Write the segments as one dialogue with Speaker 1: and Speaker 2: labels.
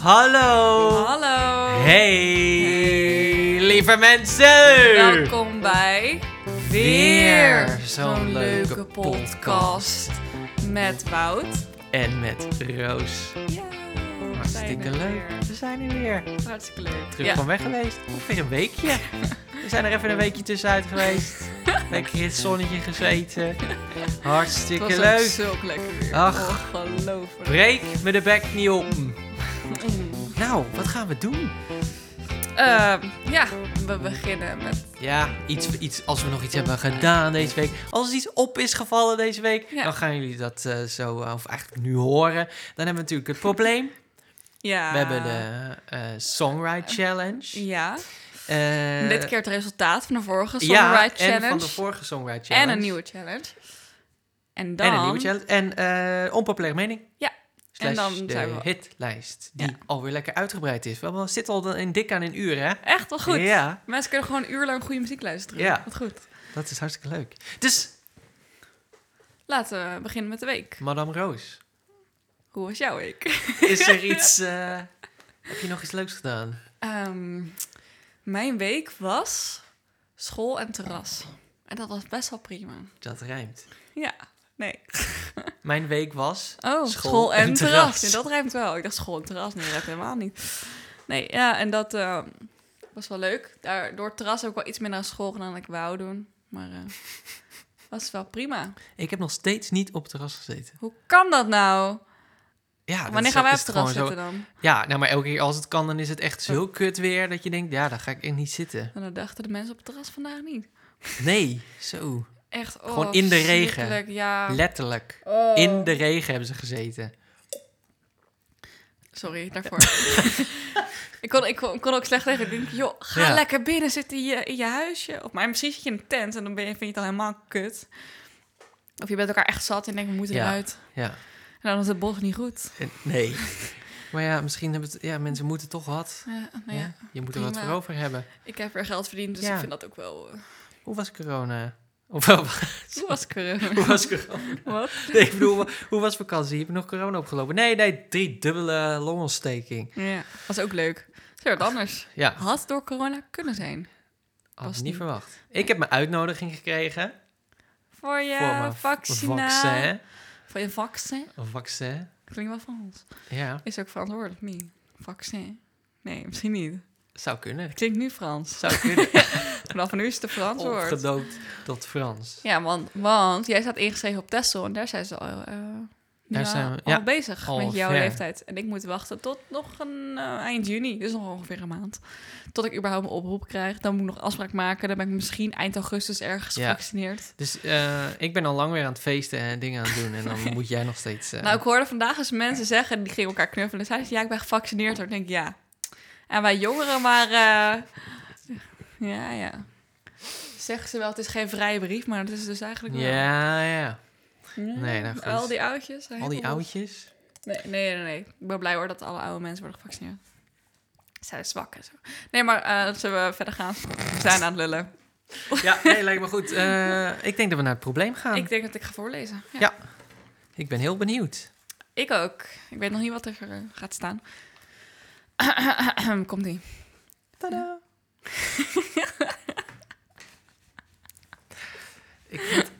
Speaker 1: Hallo.
Speaker 2: Hallo.
Speaker 1: Hey, lieve mensen.
Speaker 2: Welkom bij
Speaker 1: Weer
Speaker 2: weer
Speaker 1: zo'n
Speaker 2: zo'n
Speaker 1: leuke
Speaker 2: leuke podcast met Wout.
Speaker 1: En met Roos.
Speaker 2: Ja, we
Speaker 1: Hartstikke
Speaker 2: zijn er
Speaker 1: leuk.
Speaker 2: weer.
Speaker 1: We zijn er weer.
Speaker 2: Hartstikke leuk.
Speaker 1: Terug
Speaker 2: ja.
Speaker 1: van weg geweest. Ongeveer een weekje. We zijn er even een weekje tussenuit geweest. Lekker in het zonnetje gezeten.
Speaker 2: Het
Speaker 1: Hartstikke
Speaker 2: was ook
Speaker 1: leuk.
Speaker 2: zulk lekker weer.
Speaker 1: Ach.
Speaker 2: Ongelooflijk.
Speaker 1: Breek me de bek niet op.
Speaker 2: Mm.
Speaker 1: Nou, wat gaan we doen?
Speaker 2: Ehm, ja, we beginnen met...
Speaker 1: Ja, iets, iets, als we nog iets hebben gedaan deze week. Als er iets op is gevallen deze week,
Speaker 2: Ja.
Speaker 1: dan gaan jullie dat eh, zo, eh, of eigenlijk nu horen. Dan hebben we natuurlijk het probleem.
Speaker 2: Ja.
Speaker 1: We hebben de eh Songwrite Challenge.
Speaker 2: Ja.
Speaker 1: Eh,
Speaker 2: Dit keer het resultaat van de vorige
Speaker 1: ja,
Speaker 2: Songwrite Challenge.
Speaker 1: en van de vorige Songwrite Challenge.
Speaker 2: en een nieuwe challenge. En dan...
Speaker 1: En een nieuwe challenge. En eh onpopulaire mening.
Speaker 2: Ja.
Speaker 1: Slash
Speaker 2: En dan
Speaker 1: de
Speaker 2: zijn we-
Speaker 1: hitlijst, die
Speaker 2: Ja.
Speaker 1: alweer lekker uitgebreid is. We zitten al in dik aan een uur, hè?
Speaker 2: Echt wel goed.
Speaker 1: Ja,
Speaker 2: Mensen kunnen gewoon een uur lang goede muziek luisteren.
Speaker 1: Ja.
Speaker 2: Wat goed.
Speaker 1: dat is hartstikke leuk. Dus,
Speaker 2: Laten we beginnen met de week.
Speaker 1: Madame Roos,
Speaker 2: Hoe was jouw week?
Speaker 1: is er iets... eh, heb je nog iets leuks gedaan?
Speaker 2: Ehm, mijn week was school en terras. En dat was best wel prima.
Speaker 1: Dat rijmt.
Speaker 2: Ja, nee.
Speaker 1: Mijn week was...
Speaker 2: Oh, school, en, terras. Ja, dat ruimt wel. Ik dacht school en terras. Nee, dat ruimt helemaal niet. Nee, ja, en dat ehm, was wel leuk. Daar, door het terras heb ik wel iets minder aan school gedaan dan ik wou doen. Maar eh was wel prima.
Speaker 1: Ik heb nog steeds niet op het terras gezeten.
Speaker 2: Hoe kan dat nou?
Speaker 1: Ja, dat
Speaker 2: Wanneer
Speaker 1: is-
Speaker 2: gaan wij op
Speaker 1: is
Speaker 2: het
Speaker 1: gewoon
Speaker 2: terras
Speaker 1: zo-
Speaker 2: zitten dan?
Speaker 1: Ja, nou, maar elke keer als het kan, dan is het echt zo kut weer dat je denkt, ja, daar ga ik echt niet zitten.
Speaker 2: En dat dachten de mensen op het terras vandaag niet.
Speaker 1: Nee, zo.
Speaker 2: Echt, oh,
Speaker 1: Gewoon in de regen.
Speaker 2: verschrikkelijk, Ja.
Speaker 1: Letterlijk.
Speaker 2: Oh.
Speaker 1: In de regen hebben ze gezeten.
Speaker 2: Sorry daarvoor. ik, kon, ik, kon, ik kon ook slecht tegen. Ik denk, joh, ga
Speaker 1: Ja.
Speaker 2: lekker binnen zitten in je, in je huisje. Of, maar misschien zit je in een tent en dan ben je, vind je het al helemaal kut. Of je bent elkaar echt zat en denkt, we moeten
Speaker 1: Ja.
Speaker 2: eruit.
Speaker 1: Ja.
Speaker 2: En dan is het bos niet goed.
Speaker 1: En- nee. maar ja, misschien hebben het, ja, mensen moeten toch wat.
Speaker 2: Eh,
Speaker 1: Ja,
Speaker 2: nou ja,
Speaker 1: je moet er wat
Speaker 2: prima.
Speaker 1: voor over hebben.
Speaker 2: ik heb er geld verdiend, dus
Speaker 1: Ja.
Speaker 2: ik vind dat ook wel... eh,
Speaker 1: Hoe was corona? Of wel,
Speaker 2: Hoe was corona?
Speaker 1: hoe was corona?
Speaker 2: Wat?
Speaker 1: Nee, ik bedoel, wa- hoe was vakantie? Heb je nog corona opgelopen? Nee, nee, drie dubbele longontsteking.
Speaker 2: Ja, was ook leuk. Het is weer wat anders.
Speaker 1: Ja,
Speaker 2: Had door corona kunnen zijn.
Speaker 1: had
Speaker 2: Was
Speaker 1: ik niet
Speaker 2: niet.
Speaker 1: verwacht. Ik heb mijn uitnodiging gekregen
Speaker 2: Voor
Speaker 1: voor
Speaker 2: je
Speaker 1: mijn v-
Speaker 2: vaccina.
Speaker 1: vaccin.
Speaker 2: Voor je vaccin.
Speaker 1: Of vaccin,
Speaker 2: Klinkt wel Frans.
Speaker 1: ja.
Speaker 2: Is ook Frans woord of niet? Vaccin? Nee, misschien niet.
Speaker 1: Zou kunnen.
Speaker 2: Ik klink nu Frans.
Speaker 1: Zou kunnen.
Speaker 2: Vanaf nu is het een Frans woord.
Speaker 1: Opgedoopt tot Frans.
Speaker 2: Ja, want, want jij staat ingeschreven op Texel en daar zijn ze al, eh, nu al-
Speaker 1: zijn we-
Speaker 2: al
Speaker 1: ja,
Speaker 2: bezig
Speaker 1: al
Speaker 2: met jouw
Speaker 1: ver.
Speaker 2: leeftijd. En ik moet wachten tot nog een eh, eind juni, dus nog ongeveer een maand. Tot ik überhaupt mijn oproep krijg. Dan moet ik nog afspraak maken. Dan ben ik misschien eind augustus ergens
Speaker 1: Ja.
Speaker 2: gevaccineerd.
Speaker 1: Dus eh, ik ben al lang weer aan het feesten en dingen aan het doen. En dan moet jij nog steeds... eh,
Speaker 2: Nou, ik hoorde vandaag eens mensen zeggen, die gingen elkaar knuffelen. Zeiden ze, ja, ik ben gevaccineerd. hoor. Ik denk, ja. En wij jongeren, maar... eh, ja, ja. Zeggen ze wel, het is geen vrije brief, maar het is dus eigenlijk wel...
Speaker 1: ja, ja.
Speaker 2: Ja,
Speaker 1: Nee, nou goed.
Speaker 2: Al die oudjes.
Speaker 1: Al die
Speaker 2: helemaal-
Speaker 1: oudjes.
Speaker 2: Nee, nee, nee, nee. Ik ben blij hoor dat alle oude mensen worden gevaccineerd. Ze Zijn zwak en zo. Nee, maar eh, zullen we verder gaan? We zijn aan het lullen.
Speaker 1: Ja, nee, lijkt me goed. Eh, ik denk dat we naar het probleem gaan.
Speaker 2: Ik
Speaker 1: Ik,
Speaker 2: denk dat ik ga voorlezen. Ja.
Speaker 1: Oh. Ja. ben heel benieuwd.
Speaker 2: Ik ook. Ik weet nog niet wat er eh, gaat staan. Komt ie.
Speaker 1: Tada! ik vind-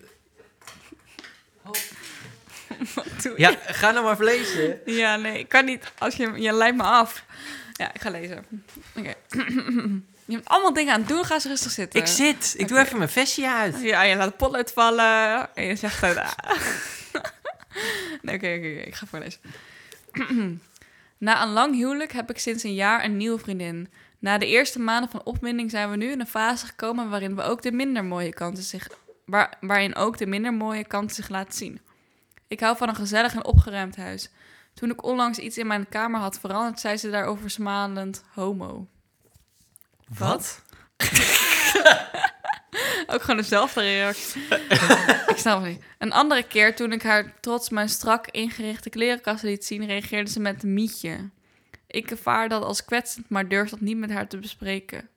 Speaker 2: Wat doe
Speaker 1: Ja,
Speaker 2: je?
Speaker 1: ga nou maar lezen.
Speaker 2: Ja, nee, ik kan niet. Als je, je leidt me af. Ja, ik ga lezen. Oké. je hebt allemaal dingen aan het doen. Ga eens rustig zitten.
Speaker 1: Ik zit. Ik doe
Speaker 2: Oké. Oh,
Speaker 1: even mijn vestje uit.
Speaker 2: Ja, je laat de potlood vallen en je zegt dat. nee, oké, oké, oké, ik ga voorlezen. Na een lang huwelijk heb ik sinds een jaar een nieuwe vriendin. Na de eerste maanden van opwinding zijn we nu in een fase gekomen waarin we ook de minder mooie kanten zich, waar, waarin ook de minder mooie kanten zich laten zien. Ik hou van een gezellig en opgeruimd huis. Toen ik onlangs iets in mijn kamer had veranderd, zei ze daarover smalend homo. Wat? Ook gewoon dezelfde reactie. ik snap het niet. Een andere keer toen ik haar trots mijn strak ingerichte klerenkast liet zien, reageerde ze met een mietje. Ik ervaar dat als kwetsend, maar durf dat niet met haar te bespreken.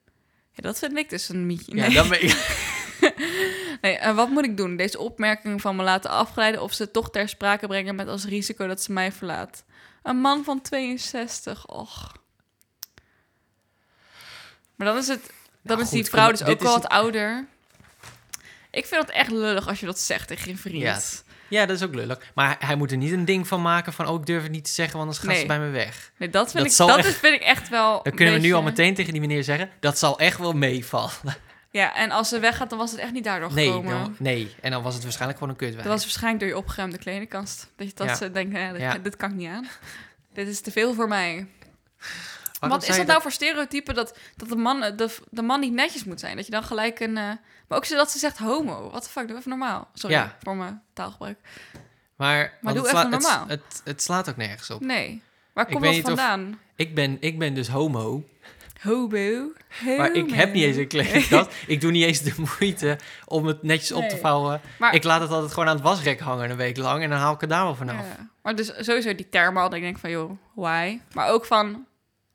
Speaker 2: Ja, dat vind ik dus een mietje.
Speaker 1: Ja,
Speaker 2: Nee.
Speaker 1: dan ben ik...
Speaker 2: Nee, en wat moet ik doen? Deze opmerkingen van me laten afgeleiden of ze toch ter sprake brengen met als risico dat ze mij verlaat? Een man van 62, och. Maar dan is het, dan
Speaker 1: Nou
Speaker 2: is die
Speaker 1: goed,
Speaker 2: vrouw
Speaker 1: kom-
Speaker 2: dus
Speaker 1: dit
Speaker 2: ook
Speaker 1: is
Speaker 2: al
Speaker 1: een-
Speaker 2: wat ouder. Ik vind het echt lullig als je dat zegt tegen je vriend.
Speaker 1: Ja, Ja, dat is ook lullig. Maar hij- hij moet er niet een ding van maken van... oh, ik durf het niet te zeggen, want anders gaat ze
Speaker 2: Nee.
Speaker 1: bij me weg.
Speaker 2: Nee, dat vind,
Speaker 1: Dat
Speaker 2: ik,
Speaker 1: zal
Speaker 2: dat
Speaker 1: echt-
Speaker 2: is, vind ik echt wel.
Speaker 1: Dan
Speaker 2: een
Speaker 1: kunnen we nu al
Speaker 2: beetje-
Speaker 1: meteen tegen die meneer zeggen... dat zal echt wel meevallen.
Speaker 2: Ja, en als ze weggaat, dan was het echt niet daardoor
Speaker 1: Nee,
Speaker 2: gekomen.
Speaker 1: dan- nee, en dan was het waarschijnlijk gewoon een kutwijf.
Speaker 2: Dat was waarschijnlijk door je opgeruimde kledingkast. Dat je dat
Speaker 1: Ja.
Speaker 2: ze denkt, nee, dit,
Speaker 1: Ja.
Speaker 2: dit kan ik niet aan. dit is te veel voor mij.
Speaker 1: Waarom
Speaker 2: Wat is
Speaker 1: zei
Speaker 2: dat
Speaker 1: je
Speaker 2: nou voor stereotype dat, dat de, man, de, de man niet netjes moet zijn? Dat je dan gelijk een... eh, maar ook zodat ze zegt homo. What the fuck, doe even normaal. Sorry
Speaker 1: Ja.
Speaker 2: voor mijn taalgebruik.
Speaker 1: Maar, want
Speaker 2: doe
Speaker 1: het sla-
Speaker 2: even
Speaker 1: het-
Speaker 2: normaal.
Speaker 1: Het, het, slaat ook nergens op.
Speaker 2: Nee. Waar
Speaker 1: Ik
Speaker 2: komt
Speaker 1: weet
Speaker 2: dat
Speaker 1: niet of-
Speaker 2: vandaan?
Speaker 1: Ik ben, ik ben dus homo,
Speaker 2: Hobo.
Speaker 1: maar ik heb niet eens een
Speaker 2: Homo.
Speaker 1: kleding. Dat, ik doe niet eens de moeite om het netjes op te
Speaker 2: Nee.
Speaker 1: vouwen.
Speaker 2: Maar-
Speaker 1: ik laat het altijd gewoon aan het wasrek hangen een week lang... en dan haal ik het daar wel vanaf.
Speaker 2: Ja. Maar dus sowieso die termen al. dat Ik denk van, joh, why? Maar ook van,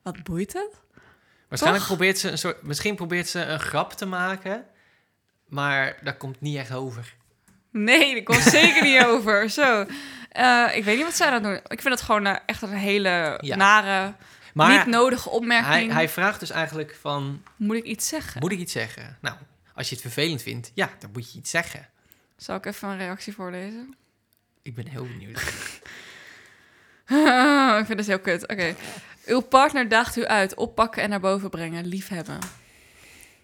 Speaker 2: wat boeit het?
Speaker 1: Waarschijnlijk
Speaker 2: Toch?
Speaker 1: probeert ze een soort, misschien probeert ze een grap te maken, maar dat komt niet echt over.
Speaker 2: Nee, dat komt zeker niet over. Zo. Eh, ik weet niet wat zij dat doen. Ik vind het gewoon eh, echt een hele
Speaker 1: Ja.
Speaker 2: nare, niet
Speaker 1: Maar
Speaker 2: nodige
Speaker 1: hij,
Speaker 2: opmerking.
Speaker 1: hij vraagt dus eigenlijk van,
Speaker 2: Moet ik iets zeggen?
Speaker 1: moet ik iets zeggen? Nou, als je het vervelend vindt, ja, dan moet je iets zeggen.
Speaker 2: Zal ik even een reactie voorlezen?
Speaker 1: Ik ben heel benieuwd.
Speaker 2: ik vind het heel kut. Oké. Uw partner daagt u uit. Oppakken en naar boven brengen. Liefhebben.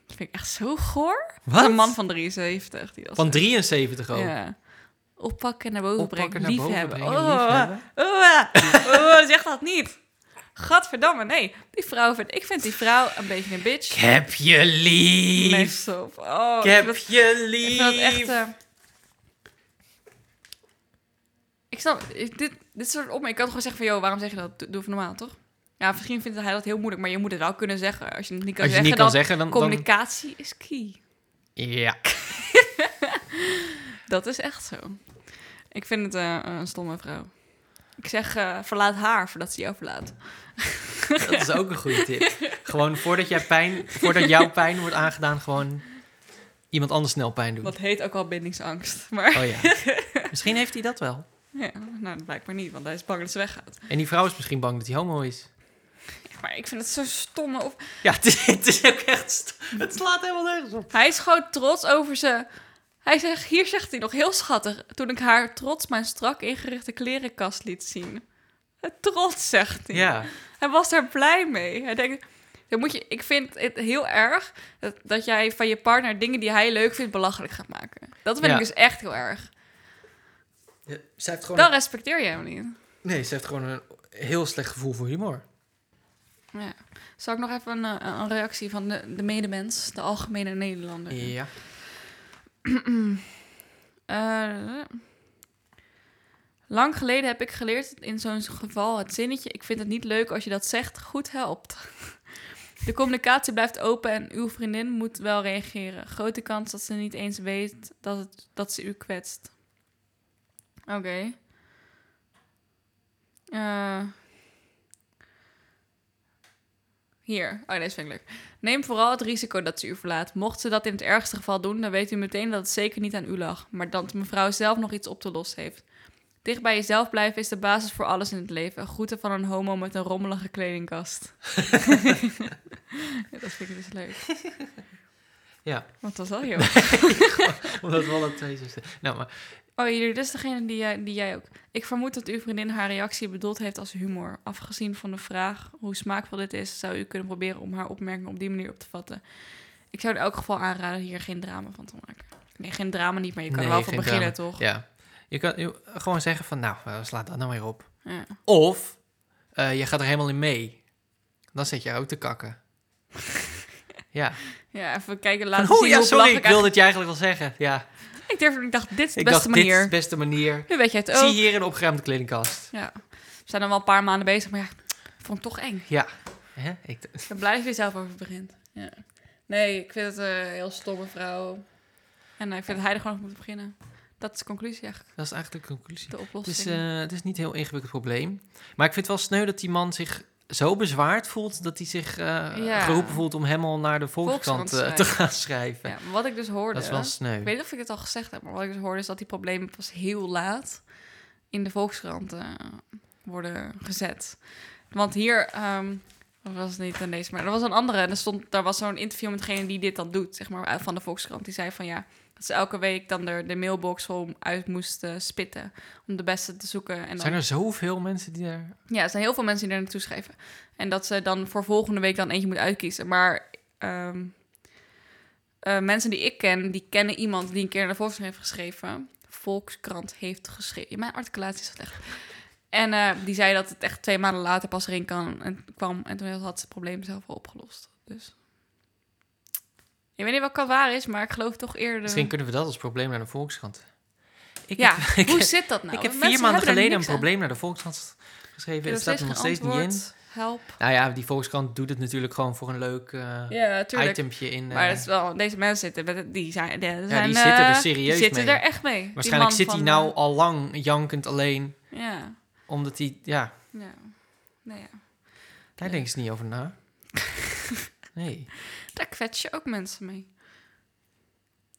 Speaker 2: Dat vind ik echt zo goor. Een man van 73. Die dat
Speaker 1: Van
Speaker 2: zegt.
Speaker 1: 73 ook.
Speaker 2: Ja. Oppakken en naar boven
Speaker 1: Oppakken, naar
Speaker 2: brengen.
Speaker 1: boven
Speaker 2: Liefhebben.
Speaker 1: brengen,
Speaker 2: Oh,
Speaker 1: liefhebben.
Speaker 2: Oh, oh, zeg dat niet. Gadverdamme, nee. Die vrouw vind, ik vind die vrouw een beetje een bitch.
Speaker 1: Ik heb je lief.
Speaker 2: Nee, stop. Oh,
Speaker 1: ik
Speaker 2: ik
Speaker 1: heb
Speaker 2: vind dat-
Speaker 1: je
Speaker 2: ik
Speaker 1: lief.
Speaker 2: vind dat echt... eh, ik snap, ik- dit, dit soort opmerkingen. Ik kan gewoon zeggen van, joh, waarom zeg je dat? Doe, doe even normaal, toch? Ja, misschien vindt hij dat heel moeilijk, maar je moet het wel kunnen zeggen. Als je het niet kan
Speaker 1: Als je het
Speaker 2: zeggen,
Speaker 1: niet kan
Speaker 2: dan,
Speaker 1: zeggen, dan... dan
Speaker 2: communicatie is key.
Speaker 1: ja.
Speaker 2: Dat is echt zo. Ik vind het eh, een stomme vrouw. Ik zeg, eh, verlaat haar voordat ze jou verlaat.
Speaker 1: Dat is ook een goede tip. Gewoon voordat, jij pijn, voordat jouw pijn wordt aangedaan, gewoon iemand anders snel pijn doen.
Speaker 2: Wat heet ook al bindingsangst. Maar
Speaker 1: Oh ja. Misschien heeft hij dat wel.
Speaker 2: ja, nou, dat blijkt maar niet, want hij is bang dat ze weggaat.
Speaker 1: En die vrouw is misschien bang dat hij homo is.
Speaker 2: Maar ik vind het zo stomme. Of...
Speaker 1: Ja, het is, het is ook echt... st- Het slaat helemaal nergens op.
Speaker 2: Hij is gewoon trots over ze. Hij zegt, hier zegt hij nog heel schattig. Toen ik haar trots mijn strak ingerichte klerenkast liet zien. Het Trots, zegt hij.
Speaker 1: Ja,
Speaker 2: Hij was daar blij mee. Hij denkt, dan moet je, ik vind het heel erg dat, dat jij van je partner dingen die hij leuk vindt belachelijk gaat maken. Dat vind
Speaker 1: Ja.
Speaker 2: ik dus echt heel erg.
Speaker 1: ze heeft gewoon...
Speaker 2: Dan respecteer je hem niet.
Speaker 1: Nee, ze heeft gewoon een heel slecht gevoel voor humor.
Speaker 2: Ja. Zal ik nog even een, eh, een reactie van de, de medemens, de algemene Nederlander?
Speaker 1: Ja.
Speaker 2: Eh, lang geleden heb ik geleerd dat in zo'n geval het zinnetje: Ik vind het niet leuk als je dat zegt, goed helpt. De communicatie blijft open en uw vriendin moet wel reageren. Grote kans dat ze niet eens weet dat, het, dat ze u kwetst. Oké. Eh, hier. Oh, deze vind ik leuk. Neem vooral het risico dat ze u verlaat. Mocht ze dat in het ergste geval doen, dan weet u meteen dat het zeker niet aan u lag, maar dat mevrouw zelf nog iets op te lossen heeft. Dicht bij jezelf blijven is de basis voor alles in het leven. Groeten van een homo met een rommelige kledingkast. Ja, dat vind ik dus leuk.
Speaker 1: Ja,
Speaker 2: Wat was dat, joh?
Speaker 1: omdat we alle twee zo staan. Nou, maar...
Speaker 2: Oh, jullie, dit is degene die jij, die jij ook... Ik vermoed dat uw vriendin haar reactie bedoeld heeft als humor. Afgezien van de vraag hoe smaakvol dit is... zou u kunnen proberen om haar opmerking op die manier op te vatten. Ik zou in elk geval aanraden hier geen drama van te maken. Nee, geen drama niet, maar je kan
Speaker 1: Nee,
Speaker 2: er wel van
Speaker 1: geen
Speaker 2: beginnen, toch?
Speaker 1: Ja. Je kan je- gewoon zeggen van, nou, eh, slaat dat nou weer op.
Speaker 2: Ja.
Speaker 1: Of, eh, je gaat er helemaal in mee. Dan zit je ook te kakken. Ja.
Speaker 2: Ja, even kijken,
Speaker 1: Van,
Speaker 2: laten zien
Speaker 1: oh ja,
Speaker 2: hoe
Speaker 1: sorry,
Speaker 2: belachelijk
Speaker 1: ik wilde het je eigenlijk wel zeggen. Ja.
Speaker 2: eigenlijk- Ik, durfde, ik dacht, dit is de
Speaker 1: Ik
Speaker 2: beste
Speaker 1: dacht, dit
Speaker 2: manier.
Speaker 1: is de beste manier.
Speaker 2: Nu weet jij het
Speaker 1: Zie
Speaker 2: ook.
Speaker 1: hier een opgeruimde kledingkast.
Speaker 2: Ja. We zijn dan wel een paar maanden bezig, maar ja, ik vond het toch eng.
Speaker 1: Ja. Hè? Ik,
Speaker 2: Ik ben blij dat je er zelf over begint. Ja. Nee, ik vind het een heel stomme vrouw. En eh, ik vind dat hij er gewoon over moet beginnen. Dat is de conclusie eigenlijk,
Speaker 1: dat is eigenlijk de conclusie.
Speaker 2: de
Speaker 1: Het is,
Speaker 2: oplossing.
Speaker 1: eh, het is niet een heel ingewikkeld probleem. Maar ik vind het wel sneu dat die man zich zo bezwaard voelt dat hij zich eh,
Speaker 2: Ja.
Speaker 1: geroepen voelt om helemaal naar de Volkskrant
Speaker 2: Volkskrant
Speaker 1: eh, te gaan schrijven.
Speaker 2: Ja, wat ik dus hoorde...
Speaker 1: dat is wel
Speaker 2: Ik
Speaker 1: sneu.
Speaker 2: weet niet of ik het al gezegd heb, maar wat ik dus hoorde is dat die problemen pas heel laat in de Volkskrant eh, worden gezet. Want hier, ehm dat was het niet aan deze, maar er was een andere. En er stond, daar was zo'n interview met degene die dit dan doet, zeg maar, uit- van de Volkskrant. Die zei van ja, dat ze elke week dan er de mailbox vol uit moesten spitten om de beste te zoeken. En dan,
Speaker 1: Zijn er zoveel mensen die daar...
Speaker 2: Ja, er zijn heel veel mensen die er naartoe schrijven. En dat ze dan voor volgende week dan eentje moet uitkiezen. Maar ehm, eh, mensen die ik ken, die kennen iemand die een keer naar de Volkskrant heeft geschreven. Volkskrant heeft geschreven. Mijn articulatie is slecht. En eh, die zei dat het echt twee maanden later pas erin kan en kwam. En toen had ze het probleem zelf al opgelost. Dus. Ik weet niet wat waar is, maar ik geloof toch eerder.
Speaker 1: Misschien kunnen we dat als probleem naar de Volkskrant. Ik
Speaker 2: ja,
Speaker 1: heb, ik
Speaker 2: hoe
Speaker 1: heb-
Speaker 2: zit dat nou?
Speaker 1: ik heb
Speaker 2: Mensen
Speaker 1: vier maanden
Speaker 2: hebben er
Speaker 1: geleden een
Speaker 2: niks aan.
Speaker 1: probleem naar de Volkskrant geschreven.
Speaker 2: Ik
Speaker 1: Het
Speaker 2: heb
Speaker 1: staat er nog steeds niet in.
Speaker 2: geantwoord. Help.
Speaker 1: Nou ja, die Volkskrant doet het natuurlijk gewoon voor een leuk eh
Speaker 2: Ja, tuurlijk.
Speaker 1: itempje in. eh,
Speaker 2: Maar het is wel, deze mensen zitten, met- die zijn, die, zijn,
Speaker 1: die zitten er
Speaker 2: eh,
Speaker 1: serieus
Speaker 2: die zitten
Speaker 1: mee.
Speaker 2: er echt mee. Die
Speaker 1: waarschijnlijk
Speaker 2: man
Speaker 1: zit hij
Speaker 2: van,
Speaker 1: nou al lang jankend alleen,
Speaker 2: eh, Ja,
Speaker 1: omdat hij... Ja,
Speaker 2: ja. Nou ja,
Speaker 1: daar
Speaker 2: Ja.
Speaker 1: denken ze niet over na. Nee.
Speaker 2: daar kwets je ook mensen mee.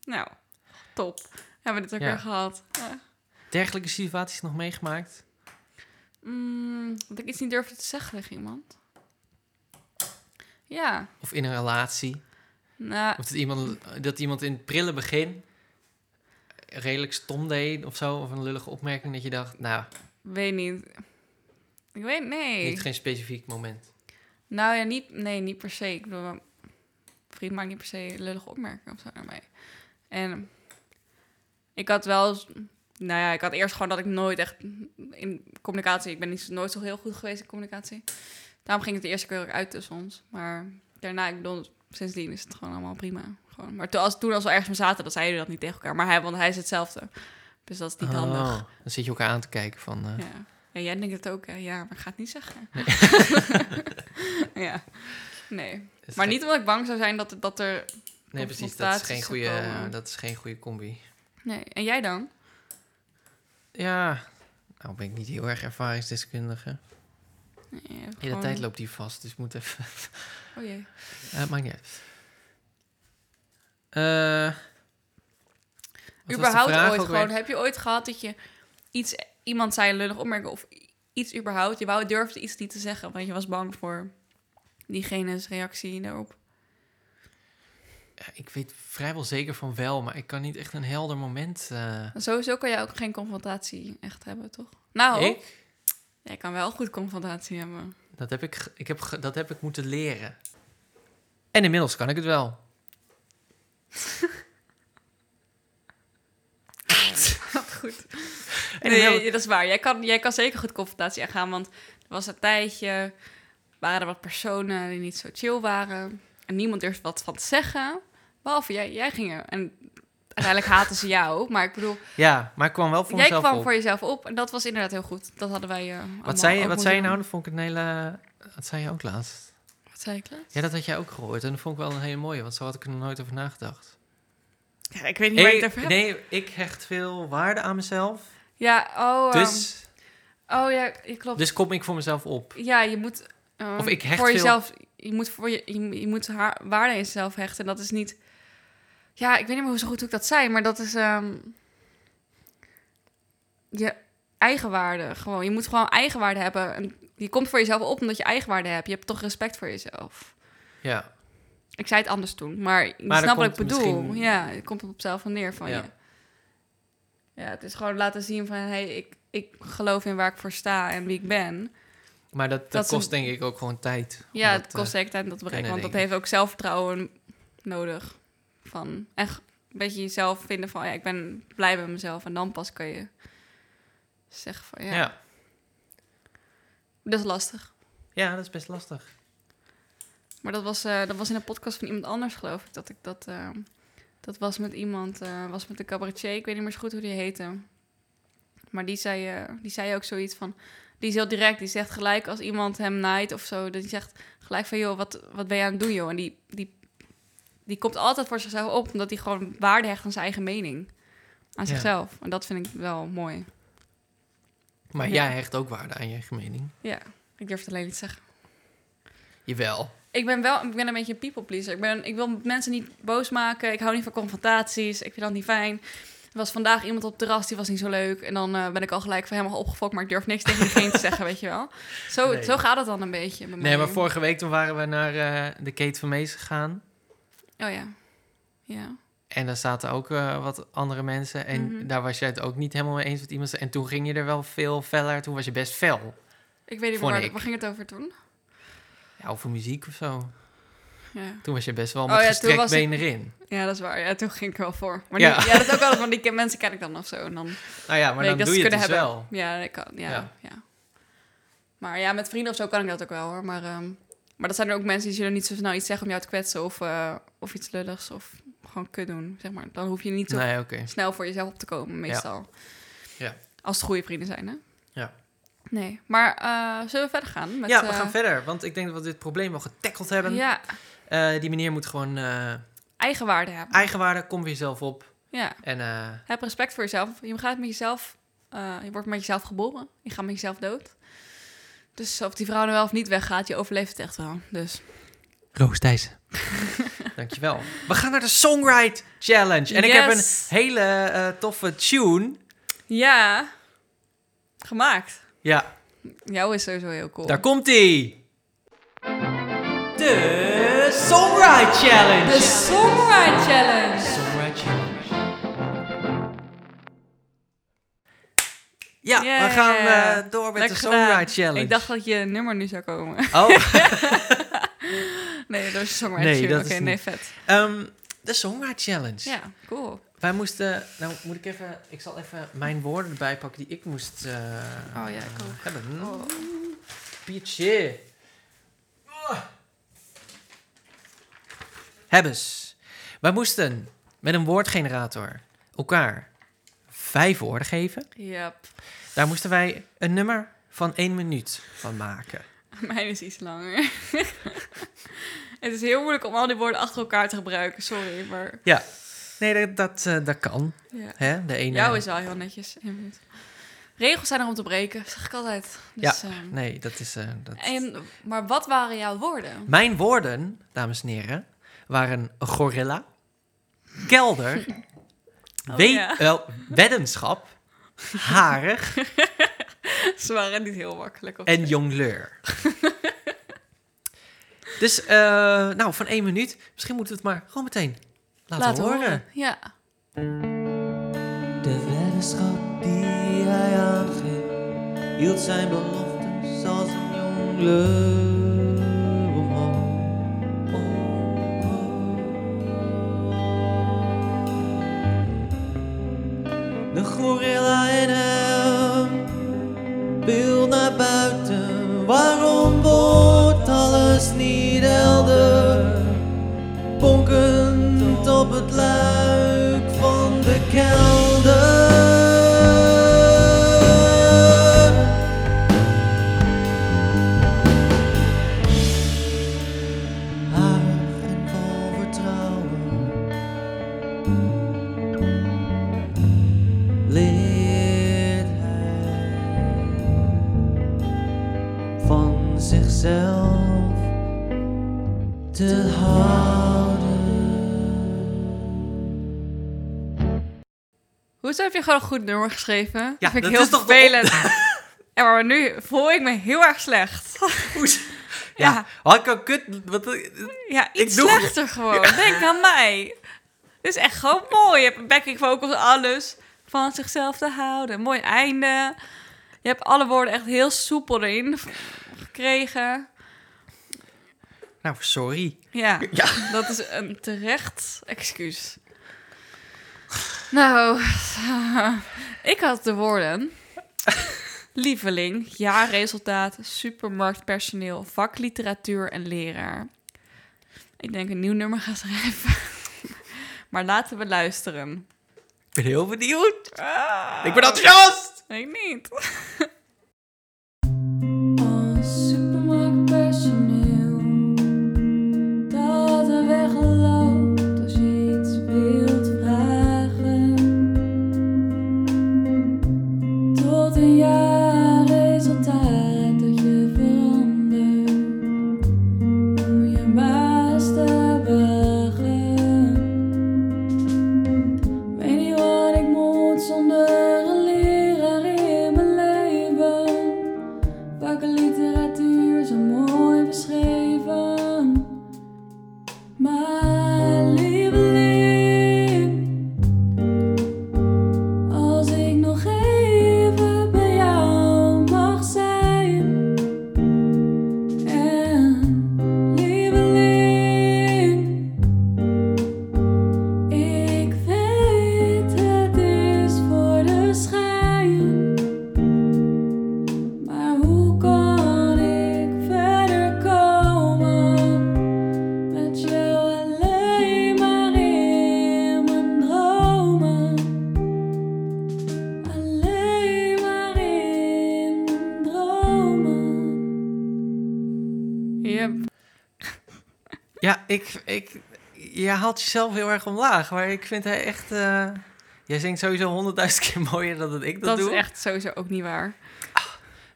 Speaker 2: Nou, top. Hebben we dit ook
Speaker 1: Ja.
Speaker 2: weer gehad. Ja.
Speaker 1: Dergelijke situaties nog meegemaakt?
Speaker 2: Mm, dat ik iets niet durfde te zeggen tegen iemand. Ja,
Speaker 1: Of in een relatie?
Speaker 2: nou,
Speaker 1: Of dat iemand, dat iemand in het prille begin redelijk stom deed of zo? Of een lullige opmerking dat je dacht, nou,
Speaker 2: weet niet. Ik weet, nee.
Speaker 1: niet geen specifiek moment.
Speaker 2: Nou ja, niet, nee, niet per se. Ik bedoel, mijn vriend maakt niet per se lullige opmerkingen of zo naar mij. En ik had wel... Nou ja, ik had eerst gewoon dat ik nooit echt in communicatie... Ik ben niet, nooit zo heel goed geweest in communicatie. Daarom ging het de eerste keer ook uit tussen ons. Maar daarna, ik bedoel, sindsdien is het gewoon allemaal prima. Gewoon. Maar toen als, toen als we ergens mee zaten, dan zeiden we dat niet tegen elkaar. Maar hij, want hij is hetzelfde. Dus dat is niet handig.
Speaker 1: Oh, dan zit je elkaar aan te kijken van... eh,
Speaker 2: Ja. En jij denkt het ook, hè? Ja, maar ik ga het niet zeggen. ja. Nee.
Speaker 1: is
Speaker 2: Maar
Speaker 1: gek.
Speaker 2: niet omdat ik bang zou zijn dat, het- dat er...
Speaker 1: Nee, precies. Dat is, geen
Speaker 2: confrontaties
Speaker 1: goede,
Speaker 2: gekomen.
Speaker 1: dat is geen goede combi.
Speaker 2: Nee. En jij dan?
Speaker 1: Ja, nou ben ik niet heel erg ervaringsdeskundige.
Speaker 2: Nee, je hebt
Speaker 1: De hele
Speaker 2: gewoon-
Speaker 1: tijd loopt die vast, dus moet even...
Speaker 2: Oh jee.
Speaker 1: Eh, maakt niet uit. Eh, wat was de
Speaker 2: Überhaupt
Speaker 1: vraag
Speaker 2: ooit
Speaker 1: ook
Speaker 2: gewoon...
Speaker 1: weer?
Speaker 2: Heb je ooit gehad dat je iets... Iemand zei een lullig opmerking of i- iets überhaupt. Je wou, durfde iets niet te zeggen, want je was bang voor diegene's reactie daarop.
Speaker 1: Ja, ik weet vrijwel zeker van wel, maar ik kan niet echt een helder moment... eh,
Speaker 2: Sowieso kan jij ook geen confrontatie echt hebben, toch? Nou,
Speaker 1: Ik?
Speaker 2: jij kan wel goed confrontatie hebben.
Speaker 1: Dat heb ik, ge- ik heb, ge- dat heb ik moeten leren. En inmiddels kan ik het wel.
Speaker 2: goed.
Speaker 1: En
Speaker 2: nee,
Speaker 1: inmiddels-
Speaker 2: ja, dat is waar. Jij kan, jij kan zeker goed confrontatie aangaan, want er was een tijdje, waren er wat personen die niet zo chill waren. En niemand durfde wat van te zeggen, behalve jij. Jij ging er. En uiteindelijk haatten ze jou, maar ik bedoel,
Speaker 1: ja, maar ik kwam wel voor
Speaker 2: jij
Speaker 1: mezelf
Speaker 2: kwam
Speaker 1: op.
Speaker 2: voor jezelf op. En dat was inderdaad heel goed. Dat hadden wij eh, allemaal
Speaker 1: Wat zei, je-
Speaker 2: ook
Speaker 1: wat
Speaker 2: moeten
Speaker 1: zei je
Speaker 2: doen.
Speaker 1: nou? Dat vond ik een hele... Dat zei je ook laatst.
Speaker 2: Wat zei ik nou? laatst?
Speaker 1: Ja, dat had jij ook gehoord. En dat vond ik wel een hele mooie, want zo had ik er nog nooit over nagedacht.
Speaker 2: Ja, ik weet niet waar je
Speaker 1: Ik-
Speaker 2: het over hebt.
Speaker 1: nee, ik hecht veel waarde aan mezelf.
Speaker 2: Ja, oh, ehm,
Speaker 1: Dus,
Speaker 2: oh ja, je klopt.
Speaker 1: dus kom ik voor mezelf op.
Speaker 2: Ja, je moet ehm,
Speaker 1: Of ik hecht
Speaker 2: voor
Speaker 1: veel-
Speaker 2: jezelf. Je moet voor je, je, je moet haar waarde in jezelf hechten. Dat is niet. Ja, ik weet niet meer hoe zo goed hoe ik dat zei, maar dat is ehm, je eigenwaarde. Gewoon, je moet gewoon eigenwaarde hebben. En je komt voor jezelf op omdat je eigenwaarde hebt. Je hebt toch respect voor jezelf.
Speaker 1: Ja,
Speaker 2: Ik zei het anders toen, maar je
Speaker 1: Maar
Speaker 2: snapt
Speaker 1: dat
Speaker 2: wat
Speaker 1: komt
Speaker 2: ik bedoel.
Speaker 1: misschien-
Speaker 2: Ja, het komt op zelf van neer van
Speaker 1: Ja.
Speaker 2: je. Ja, het is gewoon laten zien van... hey, ik, ik geloof in waar ik voor sta en wie ik ben.
Speaker 1: maar dat, dat,
Speaker 2: Dat is
Speaker 1: kost
Speaker 2: een-
Speaker 1: denk ik ook gewoon tijd. om
Speaker 2: Ja,
Speaker 1: dat, eh,
Speaker 2: het kost echt tijd om dat te bereiken.
Speaker 1: kennen,
Speaker 2: Want dat
Speaker 1: denk
Speaker 2: heeft ook zelfvertrouwen nodig. Van echt een beetje jezelf vinden van... ja, ik ben blij met mezelf. En dan pas kan je zeggen van...
Speaker 1: eh,
Speaker 2: ja,
Speaker 1: ja.
Speaker 2: dat is lastig.
Speaker 1: ja, dat is best lastig.
Speaker 2: Maar dat was, eh, dat was in een podcast van iemand anders, geloof ik. Dat ik dat... eh, dat was met iemand... eh, was met een cabaretier. Ik weet niet meer zo goed hoe die heette. Maar die zei, eh, die zei ook zoiets van... Die is heel direct. Die zegt gelijk als iemand hem naait of zo. Die zegt gelijk van, joh, wat, wat ben je aan het doen, joh? En die, die, die komt altijd voor zichzelf op. Omdat hij gewoon waarde hecht aan zijn eigen mening. Aan
Speaker 1: Ja.
Speaker 2: zichzelf. En dat vind ik wel mooi.
Speaker 1: Maar
Speaker 2: Ja.
Speaker 1: jij hecht ook waarde aan je eigen mening.
Speaker 2: Ik durf het alleen niet te zeggen.
Speaker 1: Jawel.
Speaker 2: Ik ben wel ik ben een beetje een people pleaser. Ik, ben, ik wil mensen niet boos maken. Ik hou niet van confrontaties. Ik vind dat niet fijn. Er was vandaag iemand op het terras, die was niet zo leuk. En dan eh, ben ik al gelijk van helemaal opgefokt, maar ik durf niks tegen diegene te zeggen, weet je wel. Zo,
Speaker 1: Nee.
Speaker 2: zo gaat het dan een beetje. bij
Speaker 1: Nee,
Speaker 2: mij.
Speaker 1: maar vorige week toen waren we naar eh, de Kate van Mees gegaan.
Speaker 2: Oh ja. Ja.
Speaker 1: En daar zaten ook eh, wat andere mensen. En
Speaker 2: Mhm.
Speaker 1: daar was jij het ook niet helemaal mee eens met iemand. zei. En toen ging je er wel veel feller. Toen was je best fel.
Speaker 2: Ik weet niet
Speaker 1: Vond
Speaker 2: waar,
Speaker 1: ik.
Speaker 2: waar ging het over toen?
Speaker 1: Ja, over muziek of zo.
Speaker 2: Ja.
Speaker 1: Toen was je best wel
Speaker 2: Oh
Speaker 1: met
Speaker 2: ja, toen
Speaker 1: gestrekt
Speaker 2: was ik-
Speaker 1: been erin.
Speaker 2: ja, dat is waar. Ja, toen ging ik er wel voor. Maar
Speaker 1: Ja.
Speaker 2: ja. ja, dat is ook wel van die ken- mensen ken ik dan of zo. En dan
Speaker 1: Nou ja, maar
Speaker 2: weet
Speaker 1: dan
Speaker 2: ik dat
Speaker 1: doe
Speaker 2: ze
Speaker 1: je het
Speaker 2: het
Speaker 1: dus
Speaker 2: kunnen hebben.
Speaker 1: wel.
Speaker 2: Ja, dat kan. Ja,
Speaker 1: Ja.
Speaker 2: ja. Maar ja, met vrienden of zo kan ik dat ook wel hoor. Maar, ehm, maar dat zijn er ook mensen die zullen niet zo snel iets zeggen om jou te kwetsen of, eh, of iets lulligs of gewoon kut doen. Zeg maar. Dan hoef je niet zo
Speaker 1: Nee, oké.
Speaker 2: snel voor jezelf op te komen, meestal.
Speaker 1: Ja.
Speaker 2: Als het goede vrienden zijn, hè?
Speaker 1: Ja.
Speaker 2: Nee, maar eh, zullen we verder gaan? Met,
Speaker 1: ja, we
Speaker 2: eh,
Speaker 1: gaan verder. Want ik denk dat we dit probleem wel getackeld hebben.
Speaker 2: Ja,
Speaker 1: Eh, die meneer moet gewoon eh,
Speaker 2: eigenwaarde hebben.
Speaker 1: eigenwaarde, kom weer zelf op.
Speaker 2: ja.
Speaker 1: En eh,
Speaker 2: Heb respect voor jezelf. Je gaat met jezelf, eh, je wordt met jezelf geboren. Je gaat met jezelf dood. Dus of die vrouw nou wel of niet weggaat, je overleeft het echt wel. Dus
Speaker 1: Roos Thijssen. Dankjewel. We gaan naar de Songwrite Challenge. En ik heb
Speaker 2: Yes.
Speaker 1: een hele eh, toffe tune.
Speaker 2: ja, gemaakt.
Speaker 1: Ja,
Speaker 2: Jou is sowieso heel cool.
Speaker 1: daar komt ie. De Songwrite Challenge.
Speaker 2: de Songwriter Challenge.
Speaker 1: Songwrite Challenge. Ja, we
Speaker 2: Yeah.
Speaker 1: gaan eh, door met
Speaker 2: Lekker
Speaker 1: de Songwrite
Speaker 2: gedaan.
Speaker 1: Challenge.
Speaker 2: Ik dacht dat je nummer nu zou komen.
Speaker 1: Oh.
Speaker 2: Nee, dat is de Songwriter
Speaker 1: Nee,
Speaker 2: Challenge.
Speaker 1: dat
Speaker 2: Oké,
Speaker 1: is
Speaker 2: nee,
Speaker 1: niet.
Speaker 2: vet.
Speaker 1: Ehm, de Songwrite Challenge.
Speaker 2: Ja, cool.
Speaker 1: Wij moesten. Nou, moet ik even. Ik zal even mijn woorden erbij pakken die ik moest. eh,
Speaker 2: ja, ik ook.
Speaker 1: Hebben. Mm.
Speaker 2: Oh.
Speaker 1: Pietje. Oh. Hebbes. Wij moesten met een woordgenerator elkaar vijf woorden geven.
Speaker 2: Yep.
Speaker 1: Daar moesten wij een nummer van één minuut van maken.
Speaker 2: Mijn is iets langer. het is heel moeilijk om al die woorden achter elkaar te gebruiken. Sorry, maar
Speaker 1: Ja. Nee, dat, dat, eh, dat kan.
Speaker 2: ja.
Speaker 1: Hè? De ene.
Speaker 2: Jou is wel heel netjes. één minuut. Regels zijn er om te breken, zeg ik altijd. Dus, ehm,
Speaker 1: Nee, dat is. eh, dat...
Speaker 2: en, maar wat waren jouw woorden?
Speaker 1: Mijn woorden, dames en heren, waren gorilla, kelder,
Speaker 2: Oh,
Speaker 1: we-
Speaker 2: ja.
Speaker 1: wel, weddenschap, harig
Speaker 2: Ze waren niet heel makkelijk. Of...
Speaker 1: en jongleur. Dus, eh, nou, van één minuut. Misschien moeten we het maar gewoon meteen laten, horen.
Speaker 2: Ja.
Speaker 3: De weddenschap die hij aanging, hield zijn beloftes als een jong leeuwenman. Oh, oh. De gorilla in hem wil naar buiten. Waarom wordt alles niet helder? bonkend op het luik van de kelder. Harig en vol vertrouwen leert hij van zichzelf te houden.
Speaker 2: Hoezo heb je gewoon een goed nummer geschreven?
Speaker 1: Ja,
Speaker 2: dat vind
Speaker 1: dat
Speaker 2: ik heel
Speaker 1: is toch de
Speaker 2: vervelend. en maar nu voel ik me heel erg slecht.
Speaker 1: Oes. Ja,
Speaker 2: Ja.
Speaker 1: had ik al kut... Wat,
Speaker 2: Ja,
Speaker 1: Ik
Speaker 2: iets
Speaker 1: doe
Speaker 2: slechter gewoon. Denk aan mij. Dit is echt gewoon mooi. Je hebt backing vocals, alles van zichzelf te houden. Mooi einde. Je hebt alle woorden echt heel soepel erin gekregen.
Speaker 1: nou, sorry.
Speaker 2: Ja,
Speaker 1: Ja.
Speaker 2: dat is een terecht excuus. Nou, ik had de woorden. Lieveling, jaarresultaat, supermarktpersoneel, vakliteratuur en leraar. Ik denk een nieuw nummer gaan schrijven. Maar laten we luisteren.
Speaker 1: Ik ben heel benieuwd.
Speaker 2: Ah.
Speaker 1: Ik ben enthousiast!
Speaker 2: Nee, niet. Als supermarktpersoneel dat er wegloopt als je iets wilt vragen. Tot een jaar resultaat dat je verandert. je...
Speaker 1: Ja, ik, ik, je haalt jezelf heel erg omlaag. Maar ik vind hij echt... eh, jij zingt sowieso honderdduizend keer mooier dan dat ik dat,
Speaker 2: Dat, is
Speaker 1: doe.
Speaker 2: echt sowieso ook niet waar.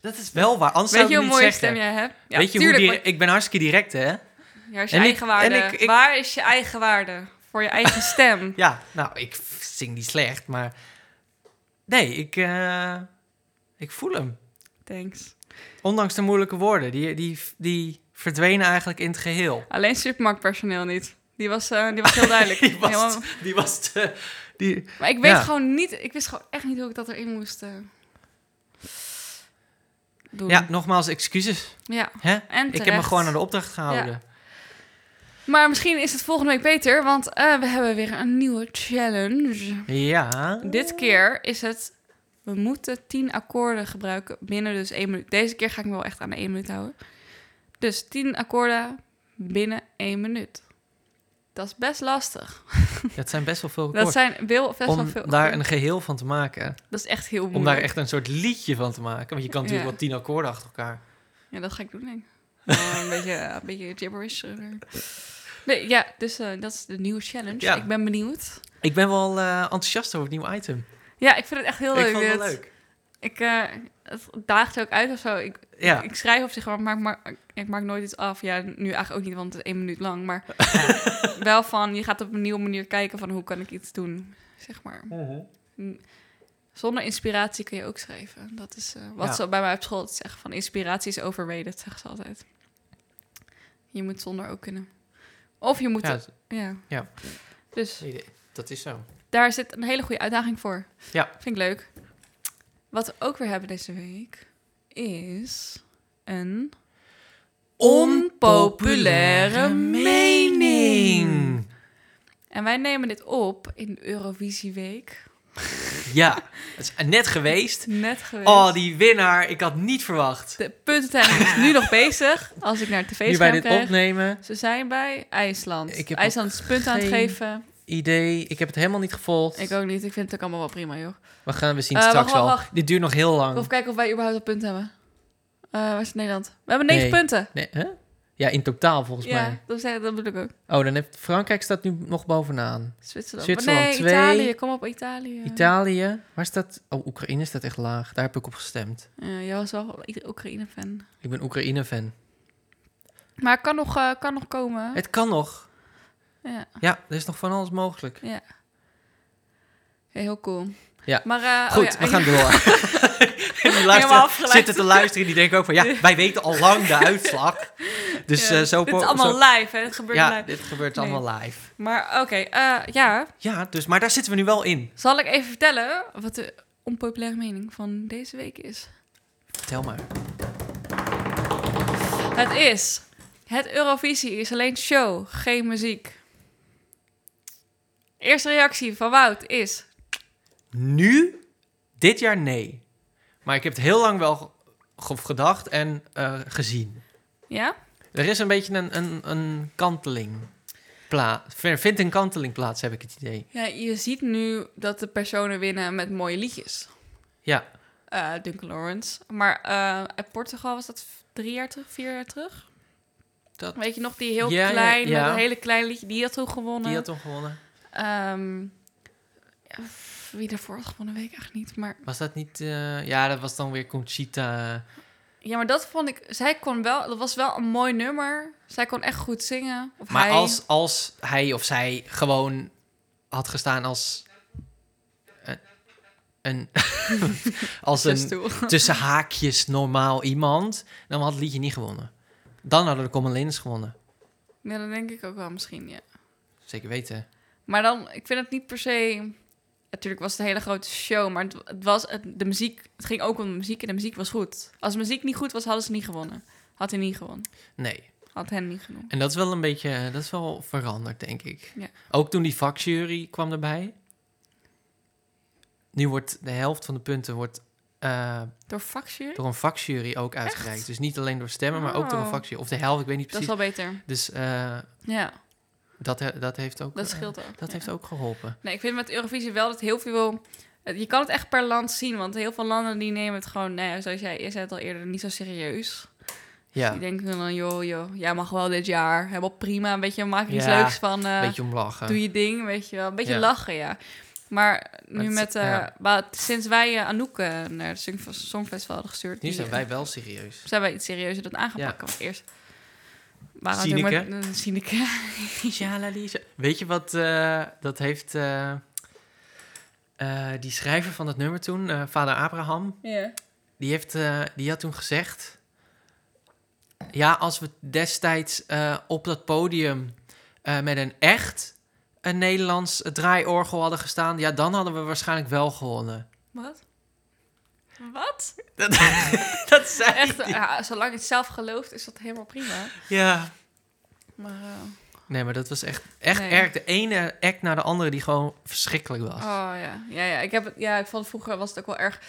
Speaker 1: Dat is wel waar. Anders
Speaker 2: Weet
Speaker 1: zou
Speaker 2: je
Speaker 1: ik
Speaker 2: hoe
Speaker 1: het
Speaker 2: mooie
Speaker 1: niet
Speaker 2: stem
Speaker 1: zeggen.
Speaker 2: jij hebt? Ja,
Speaker 1: Weet je
Speaker 2: tuurlijk,
Speaker 1: hoe die... Ik ben hartstikke direct, hè?
Speaker 2: maar- Ja, is je
Speaker 1: en ik-
Speaker 2: eigen waarde.
Speaker 1: en ik- ik-
Speaker 2: Waar is je eigen waarde? Voor je eigen stem.
Speaker 1: Ja, nou, ik zing niet slecht, maar... Nee, ik, eh, ik voel hem.
Speaker 2: Thanks.
Speaker 1: Ondanks de moeilijke woorden, die, die, die verdwenen eigenlijk in het geheel.
Speaker 2: Alleen supermarktpersoneel niet. Die was, eh, die was heel duidelijk.
Speaker 1: Die was,
Speaker 2: Helemaal-
Speaker 1: die was te- die,
Speaker 2: Maar ik weet
Speaker 1: Ja.
Speaker 2: gewoon niet... Ik wist gewoon echt niet hoe ik dat erin moest eh, doen.
Speaker 1: ja, nogmaals, excuses.
Speaker 2: Ja.
Speaker 1: Hè?
Speaker 2: En
Speaker 1: Ik heb me
Speaker 2: terecht.
Speaker 1: gewoon aan de opdracht gehouden.
Speaker 2: Maar misschien is het volgende week beter, want eh, we hebben weer een nieuwe challenge.
Speaker 1: Ja.
Speaker 2: Dit keer is het... We moeten tien akkoorden gebruiken binnen dus één minuut. Deze keer ga ik me wel echt aan de één minuut houden. Dus tien akkoorden binnen één minuut. Dat is best lastig.
Speaker 1: Dat zijn best wel veel
Speaker 2: Dat
Speaker 1: records.
Speaker 2: zijn wel best wel
Speaker 1: Om
Speaker 2: veel. Oh,
Speaker 1: daar een geheel van te maken.
Speaker 2: Dat is echt heel moeilijk.
Speaker 1: Om daar echt een soort liedje van te maken. Want je kan natuurlijk
Speaker 2: Ja.
Speaker 1: wel tien akkoorden achter elkaar.
Speaker 2: Ja, dat ga ik doen, denk ik. Gewoon een, beetje, een beetje gibberish. eh. Nee, ja, dus eh, dat is de nieuwe challenge.
Speaker 1: Ja.
Speaker 2: Ik ben benieuwd.
Speaker 1: Ik ben wel eh, enthousiast over het nieuwe item.
Speaker 2: Ja, ik vind het echt heel leuk.
Speaker 1: ik vond het
Speaker 2: dit.
Speaker 1: wel leuk.
Speaker 2: Ik, eh, het daagt ook uit of zo. Ik,
Speaker 1: Ja.
Speaker 2: ik schrijf op zich, wel, maar ik maak, ik maak nooit iets af. Ja, nu eigenlijk ook niet, want het is één minuut lang. Maar wel van, je gaat op een nieuwe manier kijken van hoe kan ik iets doen, zeg maar. Zonder inspiratie kun je ook schrijven. Dat is eh, wat
Speaker 1: Ja.
Speaker 2: ze bij mij op school altijd zeggen. Van inspiratie is overrated, zeggen ze altijd. Je moet zonder ook kunnen. Of je moet...
Speaker 1: Ja,
Speaker 2: Ja.
Speaker 1: dat-
Speaker 2: ja.
Speaker 1: Ja.
Speaker 2: Dus
Speaker 1: dat is zo.
Speaker 2: daar zit een hele goede uitdaging voor.
Speaker 1: Ja.
Speaker 2: Vind ik leuk. Wat we ook weer hebben deze week is een onpopulaire mening. En wij nemen dit op in de Eurovisieweek.
Speaker 1: Ja, het is net geweest.
Speaker 2: Net geweest.
Speaker 1: Oh, die winnaar. Ik had niet verwacht.
Speaker 2: De puntentelling is nu nog bezig. Als ik naar het
Speaker 1: Nu bij
Speaker 2: tv-scherm
Speaker 1: dit
Speaker 2: krijg.
Speaker 1: opnemen.
Speaker 2: Ze zijn bij IJsland.
Speaker 1: Ik heb
Speaker 2: IJsland is punten aan het
Speaker 1: geen-
Speaker 2: geven.
Speaker 1: Idee. Ik heb het helemaal niet gevolgd.
Speaker 2: Ik ook niet. Ik vind het ook allemaal wel prima, joh.
Speaker 1: We gaan we zien
Speaker 2: Eh, wacht,
Speaker 1: straks
Speaker 2: wacht,
Speaker 1: al.
Speaker 2: wacht.
Speaker 1: Dit duurt nog heel lang.
Speaker 2: Of kijken of wij überhaupt een punt hebben. Eh waar is het Nederland? We hebben negen
Speaker 1: Nee.
Speaker 2: punten.
Speaker 1: Nee, hè? Ja, in totaal volgens mij.
Speaker 2: Ja, dat, zei- dat bedoel ik ook.
Speaker 1: Oh, dan heeft Frankrijk staat nu nog bovenaan.
Speaker 2: Zwitserland.
Speaker 1: Zwitserland
Speaker 2: nee,
Speaker 1: twee.
Speaker 2: Italië. Kom op, Italië.
Speaker 1: Italië, waar staat... Oh, Oekraïne staat echt laag. Daar heb ik op gestemd.
Speaker 2: Ja, jij was wel Oe- Oekraïne-fan.
Speaker 1: Ik ben Oekraïne-fan.
Speaker 2: Maar het kan nog, eh, kan nog komen.
Speaker 1: Het kan nog.
Speaker 2: Ja. Oh,
Speaker 1: Ja, er is nog van alles mogelijk.
Speaker 2: Ja, heel cool.
Speaker 1: Ja.
Speaker 2: Maar, eh, oh
Speaker 1: Goed,
Speaker 2: ja,
Speaker 1: we
Speaker 2: ja.
Speaker 1: gaan door. die
Speaker 2: Helemaal
Speaker 1: luisteren,
Speaker 2: afgeleid.
Speaker 1: zitten te luisteren die denken ook van... Ja, wij weten al lang de uitslag. Dus
Speaker 2: Ja,
Speaker 1: eh, zo...
Speaker 2: Dit
Speaker 1: po-
Speaker 2: is allemaal
Speaker 1: zo-
Speaker 2: live, hè? Dit gebeurt
Speaker 1: Ja,
Speaker 2: live.
Speaker 1: dit gebeurt
Speaker 2: Nee.
Speaker 1: allemaal live.
Speaker 2: Maar oké, eh, ja.
Speaker 1: Ja, dus, maar daar zitten we nu wel in.
Speaker 2: Zal ik even vertellen wat de onpopulaire mening van deze week is?
Speaker 1: Vertel maar.
Speaker 2: Het is... Het Eurovisie is alleen show, geen muziek. Eerste reactie van Wout is...
Speaker 1: Nu, dit jaar nee. Maar ik heb het heel lang wel ge- ge- gedacht en eh, gezien.
Speaker 2: Ja?
Speaker 1: Er is een beetje een, een, een kanteling. Pla er vindt een kanteling plaats, heb ik het idee.
Speaker 2: ja? Je ziet nu dat de personen winnen met mooie liedjes.
Speaker 1: Ja,
Speaker 2: eh Duncan Lawrence. Maar eh, uit Portugal was dat v- drie jaar terug, vier jaar terug.
Speaker 1: Dat-
Speaker 2: Weet je nog, die heel
Speaker 1: Ja, ja,
Speaker 2: klein,
Speaker 1: ja.
Speaker 2: met een hele klein liedje, die had toen gewonnen.
Speaker 1: die had hem gewonnen.
Speaker 2: Ehm, ja, f- wie daarvoor had gewonnen, weet ik echt niet. Maar
Speaker 1: Was dat niet... eh, ja, dat was dan weer Conchita.
Speaker 2: ja, maar dat vond ik, zij kon wel, dat was wel een mooi nummer. Zij kon echt goed zingen. Of
Speaker 1: Maar
Speaker 2: hij.
Speaker 1: als, als hij of zij gewoon had gestaan als... Een, een, als
Speaker 2: Dus
Speaker 1: een
Speaker 2: toe.
Speaker 1: tussen haakjes normaal iemand, Nou, dan had het liedje niet gewonnen. Dan hadden de Common Lins gewonnen.
Speaker 2: Ja, dat denk ik ook wel misschien, ja.
Speaker 1: Zeker weten.
Speaker 2: Maar dan, ik vind het niet per se. Natuurlijk was het een hele grote show, maar het, het was het, de muziek. Het ging ook om de muziek en de muziek was goed. Als de muziek niet goed was, hadden ze niet gewonnen. Had hij niet gewonnen.
Speaker 1: Nee.
Speaker 2: Had hen niet genoemd.
Speaker 1: En dat is wel een beetje, eh, dat is wel veranderd, denk ik.
Speaker 2: Ja.
Speaker 1: Ook toen die vakjury kwam erbij. Nu wordt de helft van de punten wordt, eh,
Speaker 2: Door vakjury?
Speaker 1: door een vakjury ook uitgereikt. Dus niet alleen door stemmen, maar ook door een
Speaker 2: Oh.
Speaker 1: vakjury. Of de helft, ik weet niet
Speaker 2: Dat is
Speaker 1: precies.
Speaker 2: wel beter.
Speaker 1: Dus eh,
Speaker 2: Ja,
Speaker 1: dat, he- dat heeft ook...
Speaker 2: dat
Speaker 1: eh,
Speaker 2: scheelt ook.
Speaker 1: dat
Speaker 2: ja.
Speaker 1: heeft ook geholpen.
Speaker 2: Nee, ik vind met Eurovisie wel dat heel veel... Je kan het echt per land zien, want heel veel landen die nemen het gewoon... Nou ja, zoals jij je zei het al eerder, niet zo serieus. Dus
Speaker 1: Ja,
Speaker 2: die denken dan, joh, joh, jij mag wel dit jaar. Helemaal prima, weet je, maak er iets
Speaker 1: Ja,
Speaker 2: leuks van. eh,
Speaker 1: een beetje om lachen.
Speaker 2: doe je ding, weet je wel. Een beetje
Speaker 1: Ja.
Speaker 2: lachen, ja. Maar nu
Speaker 1: het-
Speaker 2: met... eh,
Speaker 1: ja.
Speaker 2: wa- sinds wij eh, Anouk eh, naar het Songf- Songfestival hadden gestuurd...
Speaker 1: Nu
Speaker 2: die-
Speaker 1: zijn wij wel serieus.
Speaker 2: zijn wij iets serieuzer dat aangepakt. Want eerst waren we
Speaker 1: Sineke.
Speaker 2: natuurlijk met... eh, Sineke.
Speaker 1: Weet je wat, eh, dat heeft eh, eh, die schrijver van het nummer toen, eh, vader Abraham,
Speaker 2: Ja.
Speaker 1: die, heeft, eh, die had toen gezegd... Ja, als we destijds eh, op dat podium eh, met een echt een Nederlands draaiorgel hadden gestaan... ja, dan hadden we waarschijnlijk wel gewonnen.
Speaker 2: Wat? Wat?
Speaker 1: Dat, dat zei
Speaker 2: Echt,
Speaker 1: hij.
Speaker 2: ja, zolang je het zelf gelooft, is dat helemaal prima.
Speaker 1: Ja.
Speaker 2: Maar, eh,
Speaker 1: Nee, maar dat was echt, echt
Speaker 2: Nee.
Speaker 1: erg. De ene act naar de andere die gewoon verschrikkelijk was.
Speaker 2: oh ja. Ja, ja, ik heb het, ja, ik vond vroeger was het ook wel erg.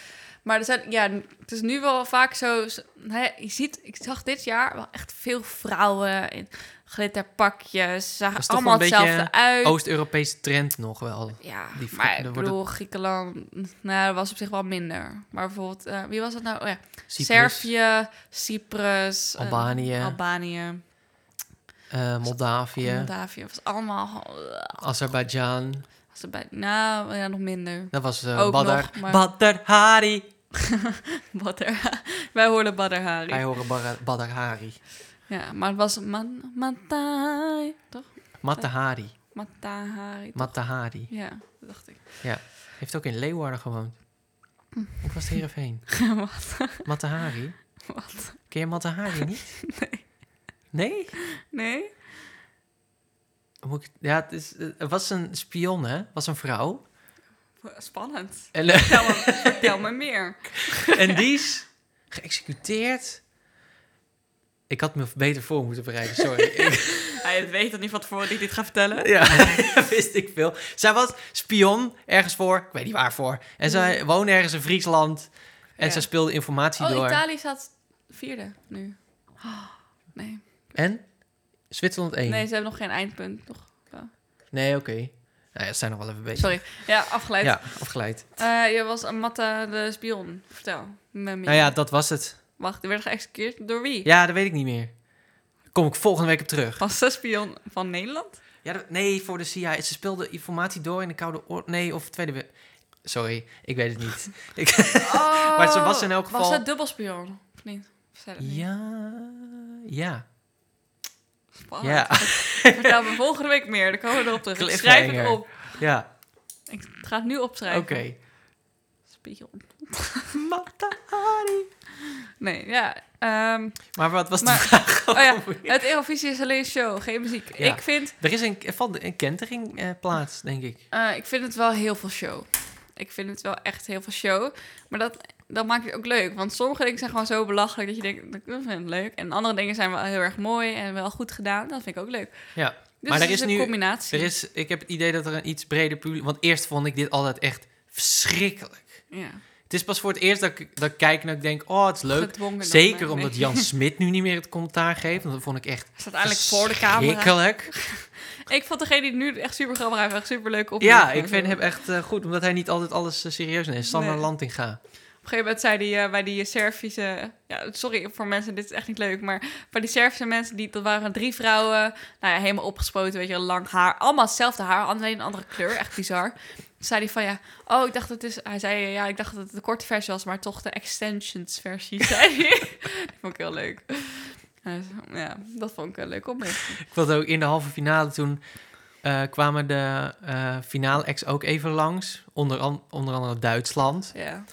Speaker 2: Maar er zijn, ja, het is nu wel vaak zo. zo- nou ja, je ziet, ik zag dit jaar wel echt veel vrouwen in glitterpakjes. Ze
Speaker 1: Dat
Speaker 2: zagen
Speaker 1: is toch
Speaker 2: allemaal
Speaker 1: wel een beetje
Speaker 2: hetzelfde uit.
Speaker 1: Oost-Europese trend nog wel.
Speaker 2: Ja,
Speaker 1: Die
Speaker 2: maar
Speaker 1: vrou-
Speaker 2: ik
Speaker 1: er
Speaker 2: bedoel,
Speaker 1: worden-
Speaker 2: Griekenland, nou, dat was op zich wel minder. Maar bijvoorbeeld, eh, wie was dat nou? Oh, ja.
Speaker 1: Cyprus,
Speaker 2: Servië, Cyprus, eh,
Speaker 1: Albanië.
Speaker 2: Albanië,
Speaker 1: eh, Moldavië,
Speaker 2: Moldavië. Het was allemaal... gewoon, eh,
Speaker 1: Azerbeidzjan.
Speaker 2: was er bij, nou, ja, nog minder.
Speaker 1: Dat was
Speaker 2: Ook
Speaker 1: eh Badr.
Speaker 2: nog, maar-
Speaker 1: Badr Hari.
Speaker 2: Badr, wij hoorden Badr Hari.
Speaker 1: Wij horen Bar- Badr Hari.
Speaker 2: Ja, maar het was man, Matai, toch?
Speaker 1: Matahari.
Speaker 2: Matahari. toch?
Speaker 1: Matahari.
Speaker 2: ja, dat dacht ik.
Speaker 1: Heeft ook in Leeuwarden gewoond. Of was het Heerenveen?
Speaker 2: Wat?
Speaker 1: Matahari?
Speaker 2: Wat?
Speaker 1: Ken je Matahari niet? Nee. Nee?
Speaker 2: Nee?
Speaker 1: Moet ik- Ja, het, is, het was een spion, hè? Het was een vrouw.
Speaker 2: Spannend.
Speaker 1: En, eh,
Speaker 2: Vertel me, vertel me meer.
Speaker 1: En die is geëxecuteerd. Ik had me beter voor moeten bereiden, sorry. Ik-
Speaker 2: Hij weet dat niet van tevoren dat ik dit ga vertellen.
Speaker 1: ja, wist ik veel. Zij was spion ergens voor, ik weet niet waarvoor. En zij woonde ergens in Friesland. En
Speaker 2: Hmm. Ja.
Speaker 1: zij speelde informatie
Speaker 2: Oh,
Speaker 1: door.
Speaker 2: Italië staat vierde nu. Oh, nee.
Speaker 1: En? Zwitserland 1.
Speaker 2: Nee,
Speaker 1: Nee,
Speaker 2: ze hebben nog geen eindpunt. Nog.
Speaker 1: oké. Nou ja, ze zijn nog wel even bezig.
Speaker 2: Sorry. Ja, afgeleid.
Speaker 1: Ja, afgeleid.
Speaker 2: Eh, je was een Matta de spion. Vertel. me meer.
Speaker 1: Nou ja, dat was het.
Speaker 2: Wacht, die werd geëxecuteerd door wie?
Speaker 1: Ja, dat weet ik niet meer. Daar Kom ik volgende week op terug.
Speaker 2: Was ze spion van Nederland?
Speaker 1: Ja, dat- nee, voor de CIA. Ze speelde informatie door in de Koude Oorlog. Nee, of Tweede Wereld- Sorry, ik weet het niet. Ik...
Speaker 2: Oh,
Speaker 1: Maar ze was in elk
Speaker 2: Was
Speaker 1: geval-
Speaker 2: ze dubbelspion? Of niet? Vertel het niet.
Speaker 1: Ja, ja.
Speaker 2: Spannend.
Speaker 1: Ja,
Speaker 2: Vertel me volgende week meer. Dan komen we erop terug. Ik schrijf het
Speaker 1: Cliffhanger.
Speaker 2: op.
Speaker 1: ja.
Speaker 2: Ik ga het nu
Speaker 1: Oké.
Speaker 2: opschrijven. Spion. Nee, ja. ehm,
Speaker 1: Maar wat was
Speaker 2: Maar-
Speaker 1: de vraag?
Speaker 2: oh ja, het Eurovisie is alleen show, geen muziek.
Speaker 1: Ja.
Speaker 2: Ik vind
Speaker 1: Er is een, er valt een kentering eh, plaats, denk ik.
Speaker 2: Eh, ik vind het wel heel veel show. Ik vind het wel echt heel veel show. Maar dat, dat maakt het ook leuk. Want sommige dingen zijn gewoon zo belachelijk dat je denkt, ik vind het leuk. En andere dingen zijn wel heel erg mooi en wel goed gedaan. Dat vind ik ook leuk.
Speaker 1: Ja,
Speaker 2: Dus
Speaker 1: maar
Speaker 2: het
Speaker 1: er
Speaker 2: is,
Speaker 1: is
Speaker 2: een
Speaker 1: nu-
Speaker 2: combinatie.
Speaker 1: Er is, ik heb het idee dat er een iets breder publiek... Want eerst vond ik dit altijd echt verschrikkelijk.
Speaker 2: ja,
Speaker 1: Het is pas voor het eerst dat ik, dat ik kijk en dat ik denk... Oh, het is leuk.
Speaker 2: gedwongen dan,
Speaker 1: Zeker
Speaker 2: eh,
Speaker 1: omdat
Speaker 2: nee.
Speaker 1: Jan Smit nu niet meer het commentaar geeft. Want dat vond ik echt
Speaker 2: Hij staat eigenlijk voor de camera.
Speaker 1: verschrikkelijk.
Speaker 2: Ik vond degene die nu echt super grappig heeft, echt super leuk op.
Speaker 1: Ja, ik vind hem echt eh, goed. Omdat hij niet altijd alles eh, serieus neemt. Sander
Speaker 2: Nee.
Speaker 1: Lantinga.
Speaker 2: Op een gegeven moment zei hij eh, bij die Servische... Ja, sorry voor mensen, dit is echt niet leuk. Maar bij die Servische mensen, die, dat waren drie vrouwen. Nou ja, helemaal opgespoten, weet je, lang haar. Allemaal hetzelfde haar, alleen een andere kleur. Echt bizar. Toen zei hij van ja, oh, ik dacht dat het is... Hij zei ja, ik dacht dat het de korte versie was, maar toch de extensions versie, zei hij. dat vond ik heel leuk. Hij zei, Ja, dat vond ik een leuk opmerking.
Speaker 1: Ik vond ook in de halve finale toen eh, kwamen de eh finale ex ook even langs. Onder, an- onder andere Duitsland.
Speaker 2: Ja.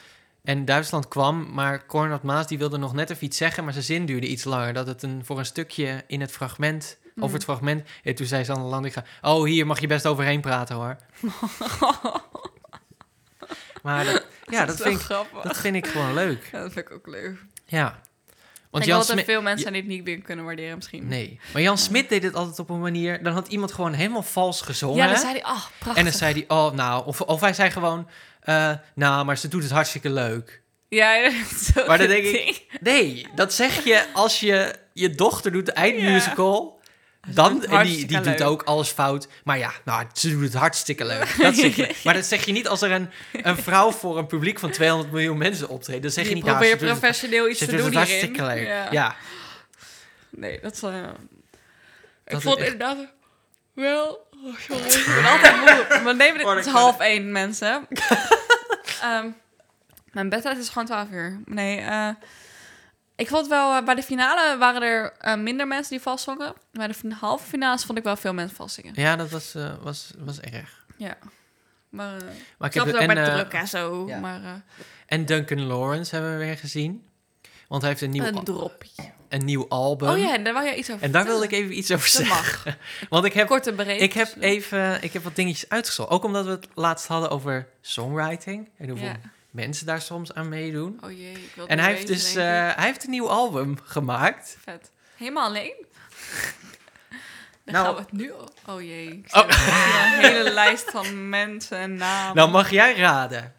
Speaker 1: En Duitsland kwam, maar Cornat Maas die wilde nog net even iets zeggen, maar zijn zin duurde iets langer. Dat het een, voor een stukje in het fragment,
Speaker 2: Hmm.
Speaker 1: over het fragment. En toen zei Sander Landinga, oh hier mag je best overheen praten hoor. Maar dat, ja, dat
Speaker 2: Hmm. is wel
Speaker 1: vind, ik,
Speaker 2: grappig.
Speaker 1: dat vind ik gewoon leuk.
Speaker 2: Ja, dat vind ik ook leuk.
Speaker 1: Ja.
Speaker 2: Want
Speaker 1: Want
Speaker 2: ik denk
Speaker 1: Jan
Speaker 2: wel dat er
Speaker 1: Smit...
Speaker 2: veel mensen dit niet meer kunnen waarderen misschien.
Speaker 1: Nee, maar Jan Smit deed het altijd op een manier... Dan had iemand gewoon helemaal vals gezongen.
Speaker 2: Ja, dan zei hij, ah, prachtig.
Speaker 1: En dan zei hij, oh, nou, of, of hij zei gewoon, eh, nou, maar ze doet het hartstikke leuk.
Speaker 2: Ja, dat is ook
Speaker 1: Maar dan
Speaker 2: een
Speaker 1: denk ik-
Speaker 2: ding.
Speaker 1: Nee, dat zeg je als je je dochter doet de eindmusical. Dan,
Speaker 2: doet het
Speaker 1: en die, die
Speaker 2: hartstikke
Speaker 1: doet
Speaker 2: leuk.
Speaker 1: ook alles fout. Maar ja, nou, ze doet het hartstikke leuk. Dat zeg je. Maar dat zeg je niet als er een, een vrouw voor een publiek van 200 miljoen mensen optreedt. Dan zeg je dus
Speaker 2: Die
Speaker 1: niet, nou, ze
Speaker 2: probeert
Speaker 1: doet het,
Speaker 2: professioneel iets
Speaker 1: ze
Speaker 2: te
Speaker 1: doet
Speaker 2: doen
Speaker 1: het
Speaker 2: hierin.
Speaker 1: hartstikke leuk. Ja.
Speaker 2: Nee, dat zal helemaal... Ik
Speaker 1: is
Speaker 2: vond
Speaker 1: echt-
Speaker 2: inderdaad wel... Oh, sorry, ik ben altijd moe. Maar neem het,
Speaker 1: Oh,
Speaker 2: het is
Speaker 1: dat-
Speaker 2: half één, mensen. Ehm, mijn bedtijd is gewoon 12 uur. Nee, eh, ik vond wel... eh, bij de finale waren er eh, minder mensen die vastzongen. Bij de fin- halve finales vond ik wel veel mensen vastzingen.
Speaker 1: Ja, dat was, eh, was, was erg.
Speaker 2: Maar, eh,
Speaker 1: Maar ik
Speaker 2: ik snap
Speaker 1: heb
Speaker 2: het ook bij de
Speaker 1: eh,
Speaker 2: druk en zo.
Speaker 1: ja.
Speaker 2: Maar eh,
Speaker 1: en Duncan Lawrence hebben we weer gezien. Want hij heeft een nieuw,
Speaker 2: een
Speaker 1: al-
Speaker 2: dropje.
Speaker 1: een nieuw album.
Speaker 2: Oh ja, daar wou jij iets over
Speaker 1: En daar wilde
Speaker 2: vertellen.
Speaker 1: ik even iets over
Speaker 2: Dat
Speaker 1: zeggen.
Speaker 2: mag.
Speaker 1: Want ik heb
Speaker 2: Kort en breed.
Speaker 1: Ik heb
Speaker 2: dus, eh,
Speaker 1: even ik heb wat dingetjes uitgezocht. Ook omdat we het laatst hadden over songwriting. En hoeveel
Speaker 2: Ja.
Speaker 1: mensen daar soms aan meedoen.
Speaker 2: Oh jee, ik wil
Speaker 1: en hij heeft dus eh, hij heeft een nieuw album gemaakt.
Speaker 2: Vet. Helemaal alleen? Dan
Speaker 1: Nou-
Speaker 2: gaan we het nu... op- Oh jee, ik zie het. Ja, een hele lijst van mensen en namen.
Speaker 1: Nou, mag jij raden?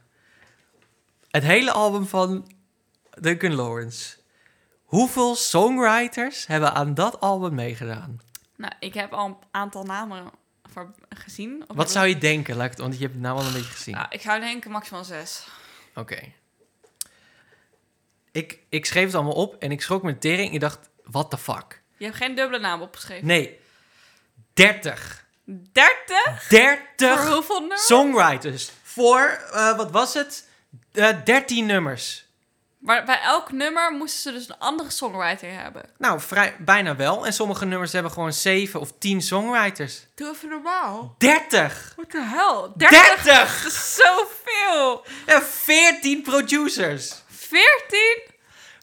Speaker 1: Het hele album van Duncan Lawrence. Hoeveel songwriters hebben aan dat album meegedaan?
Speaker 2: Nou, ik heb al een aantal namen voor gezien. Of
Speaker 1: Wat
Speaker 2: heb
Speaker 1: zou je denken? Laat ik het- Want je hebt het nou al een beetje
Speaker 2: ik-
Speaker 1: gezien.
Speaker 2: Nou, ik zou denken maximaal zes.
Speaker 1: Oké. Ik, ik schreef het allemaal op en ik schrok mijn tering. Ik dacht, what the fuck?
Speaker 2: Je hebt geen dubbele naam opgeschreven.
Speaker 1: Nee, 30.
Speaker 2: Dertig? Voor
Speaker 1: 30
Speaker 2: hoeveel nummers?
Speaker 1: songwriters. Voor, eh, wat was het? Eh 13 nummers.
Speaker 2: Maar bij elk nummer moesten ze dus een andere songwriter hebben.
Speaker 1: Nou, vrij, bijna wel. En sommige nummers hebben gewoon 7 of 10 songwriters.
Speaker 2: Doe even normaal.
Speaker 1: 30!
Speaker 2: What the hell?
Speaker 1: 30!
Speaker 2: Dertig? Dat is zoveel.
Speaker 1: En 14 producers.
Speaker 2: Veertien?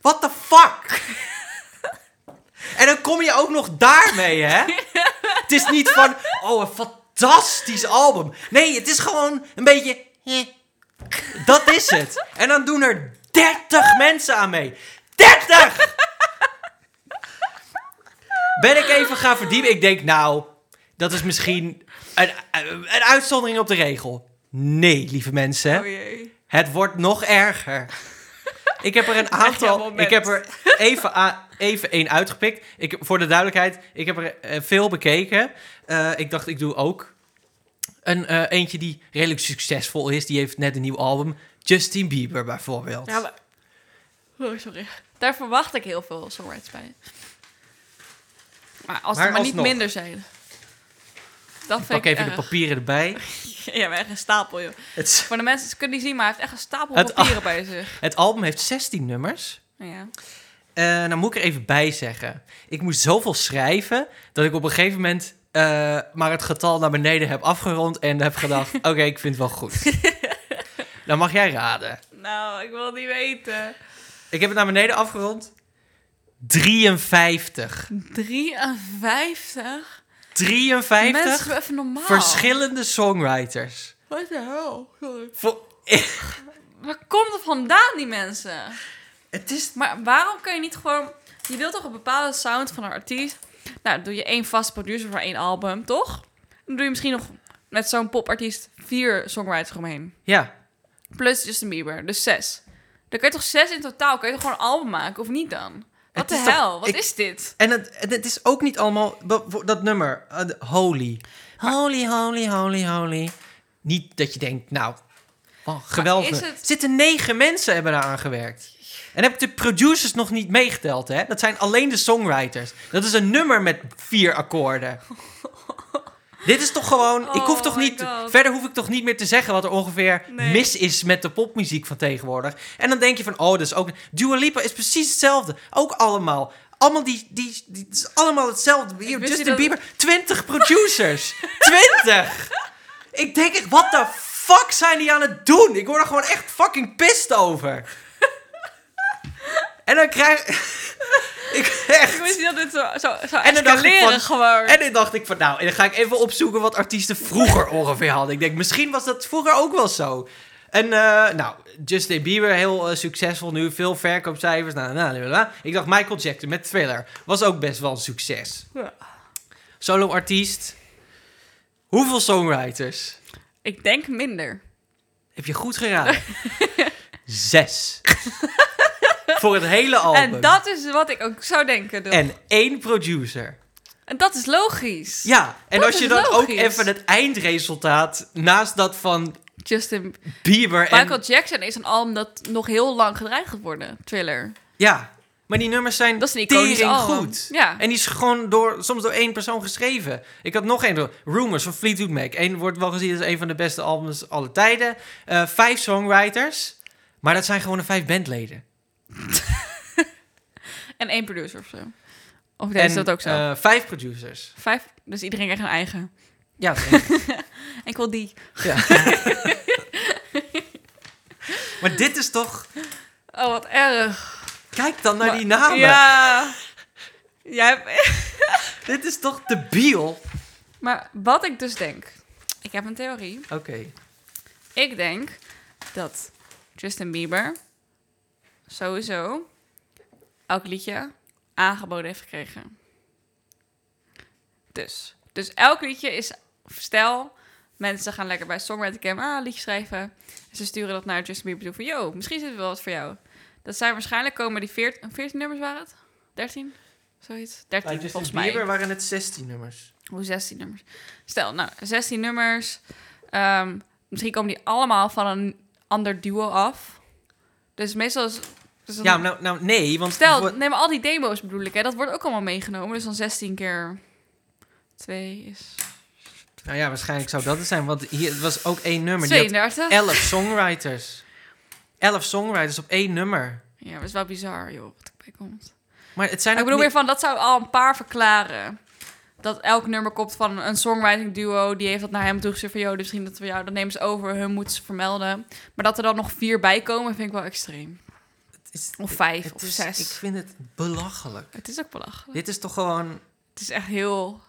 Speaker 1: What the fuck? en dan kom je ook nog daarmee, hè? het is niet van, oh, een fantastisch album. Nee, het is gewoon een beetje... eh. Dat is het. En dan doen er 30 mensen aan mee. 30! Ben ik even gaan verdiepen. Ik denk, nou, dat is misschien een, een uitzondering op de regel. Nee, lieve mensen.
Speaker 2: Oh jee.
Speaker 1: Het wordt nog erger. Ik heb er een
Speaker 2: jouw
Speaker 1: aantal.
Speaker 2: moment.
Speaker 1: Ik heb er even, a- even één uitgepikt. Ik, voor de duidelijkheid, ik heb er eh, veel bekeken. Eh, ik dacht, ik doe ook een eh, eentje die redelijk succesvol is. Die heeft net een nieuw album. Justin Bieber bijvoorbeeld.
Speaker 2: Ja, maar... Oh, sorry. Daar verwacht ik heel veel songwriters bij. Maar als
Speaker 1: Maar
Speaker 2: er maar niet
Speaker 1: alsnog.
Speaker 2: minder zijn. Dat
Speaker 1: Pak
Speaker 2: vind ik
Speaker 1: even de
Speaker 2: erg.
Speaker 1: papieren erbij.
Speaker 2: Ja, maar echt een stapel, joh.
Speaker 1: Het, s-
Speaker 2: Voor de mensen die kunnen niet zien, maar hij heeft echt een stapel
Speaker 1: Het-
Speaker 2: papieren bij zich.
Speaker 1: het album heeft 16 nummers.
Speaker 2: Ja.
Speaker 1: Eh dan moet ik er even bij zeggen. Ik moest zoveel schrijven dat ik op een gegeven moment eh, maar het getal naar beneden heb afgerond en heb gedacht: oké, ik vind het wel goed. dan mag jij raden.
Speaker 2: Nou, ik wil het niet weten.
Speaker 1: Ik heb het naar beneden afgerond. 53.
Speaker 2: 53?
Speaker 1: 53
Speaker 2: Mensen, doe even normaal.
Speaker 1: verschillende songwriters.
Speaker 2: Wat de hel? Sorry.
Speaker 1: Vo-
Speaker 2: Waar komt het vandaan, die mensen?
Speaker 1: het is.
Speaker 2: Maar waarom kan je niet gewoon... Je wilt toch een bepaalde sound van een artiest? Nou, dan doe je één vaste producer voor één album, toch? Dan doe je misschien nog met zo'n popartiest vier songwriters omheen.
Speaker 1: Ja,
Speaker 2: Plus Justin Bieber, dus zes. Dan kun je toch zes in totaal? Kun je toch gewoon een album maken, of niet dan? Wat
Speaker 1: Het
Speaker 2: de
Speaker 1: is toch-
Speaker 2: hel? Wat
Speaker 1: ik-
Speaker 2: is dit?
Speaker 1: en het, en het is ook niet allemaal. be- voor Dat nummer, eh, de- Holy. Holy, holy, holy, holy. Niet dat je denkt, nou, oh, geweldig.
Speaker 2: is
Speaker 1: Er
Speaker 2: het-
Speaker 1: Zitten negen mensen hebben daar aan gewerkt. En heb ik de producers nog niet meegeteld, hè? Dat zijn alleen de songwriters. Dat is een nummer met vier akkoorden. Dit is toch gewoon. ik hoef
Speaker 2: Oh
Speaker 1: toch
Speaker 2: my
Speaker 1: niet.
Speaker 2: God.
Speaker 1: Verder hoef ik toch niet meer te zeggen wat er ongeveer
Speaker 2: Nee.
Speaker 1: mis is met de popmuziek van tegenwoordig. En dan denk je van, oh, dat is ook. Dua Lipa is precies hetzelfde. Ook allemaal. Allemaal die. die, die het is allemaal hetzelfde. Hier, Justin
Speaker 2: wist niet dat-
Speaker 1: Bieber. 20 producers. 20! Ik denk echt, wat de fuck zijn die aan het doen? Ik word er gewoon echt fucking pissed over. en dan krijg. ik echt.
Speaker 2: Ik wist niet dat dit zo, zo, zo
Speaker 1: En dan dacht ik
Speaker 2: escaleren
Speaker 1: van-
Speaker 2: gewoon.
Speaker 1: En dan dacht ik van, nou, en dan ga ik even opzoeken wat artiesten vroeger ongeveer hadden. Ik denk, misschien was dat vroeger ook wel zo. En eh, nou, Justin Bieber, heel eh, succesvol nu, veel verkoopcijfers. Nou, nou, nou, nou. Ik dacht, Michael Jackson met Thriller was ook best wel een succes.
Speaker 2: Ja.
Speaker 1: Solo-artiest. Hoeveel songwriters?
Speaker 2: Ik denk minder.
Speaker 1: Heb je goed geraden? Zes. Voor het hele album.
Speaker 2: En dat is wat ik ook zou denken. dus. En,
Speaker 1: en één producer.
Speaker 2: dat is logisch.
Speaker 1: Ja, en
Speaker 2: Dat
Speaker 1: als je
Speaker 2: is
Speaker 1: dan ook
Speaker 2: logisch.
Speaker 1: even het eindresultaat naast dat van
Speaker 2: Justin
Speaker 1: Bieber en...
Speaker 2: Michael Jackson is een album dat nog heel lang gedraaid gaat worden. Thriller.
Speaker 1: Ja, Maar die nummers zijn
Speaker 2: Dat is een iconisch
Speaker 1: tering
Speaker 2: album.
Speaker 1: goed.
Speaker 2: Ja.
Speaker 1: En die is gewoon door, soms door één persoon geschreven. Ik had nog één. door- Rumors van Fleetwood Mac. Eén wordt wel gezien als een van de beste albums aller tijden. Eh, vijf songwriters. Maar dat zijn gewoon de vijf bandleden.
Speaker 2: En één producer of zo. Of deed ze dat ook zo?
Speaker 1: eh, vijf producers.
Speaker 2: Vijf, dus iedereen krijgt een eigen.
Speaker 1: Ja, dat denk ik.
Speaker 2: Ik wil die.
Speaker 1: ja. maar dit is toch...
Speaker 2: Oh, wat erg.
Speaker 1: Kijk dan naar
Speaker 2: Maar-
Speaker 1: die namen.
Speaker 2: Ja. Jij hebt-
Speaker 1: Dit is toch debiel? Oké.
Speaker 2: Maar wat ik dus denk... Ik heb een theorie. Ik denk dat Justin Bieber sowieso elk liedje aangeboden heeft gekregen. Dus, dus elk liedje is, stel, mensen gaan lekker bij Songwriting Camp ah, liedje schrijven. En ze sturen dat naar Justin Bieber toe van, yo, misschien zit er wel wat voor jou. Dat zijn waarschijnlijk komen die 14, 14 nummers waren het? 13? Zoiets? 13
Speaker 1: Bij Justin
Speaker 2: volgens mij.
Speaker 1: Bieber waren het 16 nummers.
Speaker 2: Hoe 16 nummers? Stel, nou, 16 nummers. Ehm, misschien komen die allemaal van een ander duo af. Dus meestal is... dus dan-
Speaker 1: Ja, nou, nou nee, want...
Speaker 2: stel,
Speaker 1: voor-
Speaker 2: neem al die demo's bedoel ik, hè. Dat wordt ook allemaal meegenomen. Dus dan 16 keer 2 is...
Speaker 1: Nou ja, waarschijnlijk zou dat het zijn, want hier het was ook één nummer. Die had
Speaker 2: 32?
Speaker 1: elf songwriters. Elf songwriters op één nummer.
Speaker 2: Ja, dat is wel bizar, joh. Wat erbij komt.
Speaker 1: Maar het zijn
Speaker 2: ik
Speaker 1: ook
Speaker 2: bedoel
Speaker 1: ni-
Speaker 2: weer van, dat zou al een paar verklaren. Dat elk nummer komt van een songwriting duo. Die heeft dat naar hem toegestuurd van... Joh, dus misschien dat we jou... Dan nemen ze over, hun moeten ze vermelden. Maar dat er dan nog vier bij komen, vind ik wel extreem.
Speaker 1: het is-
Speaker 2: Of vijf
Speaker 1: het
Speaker 2: of
Speaker 1: is-
Speaker 2: zes.
Speaker 1: Ik vind het belachelijk.
Speaker 2: Het is ook belachelijk.
Speaker 1: Dit is toch gewoon...
Speaker 2: Het is echt heel.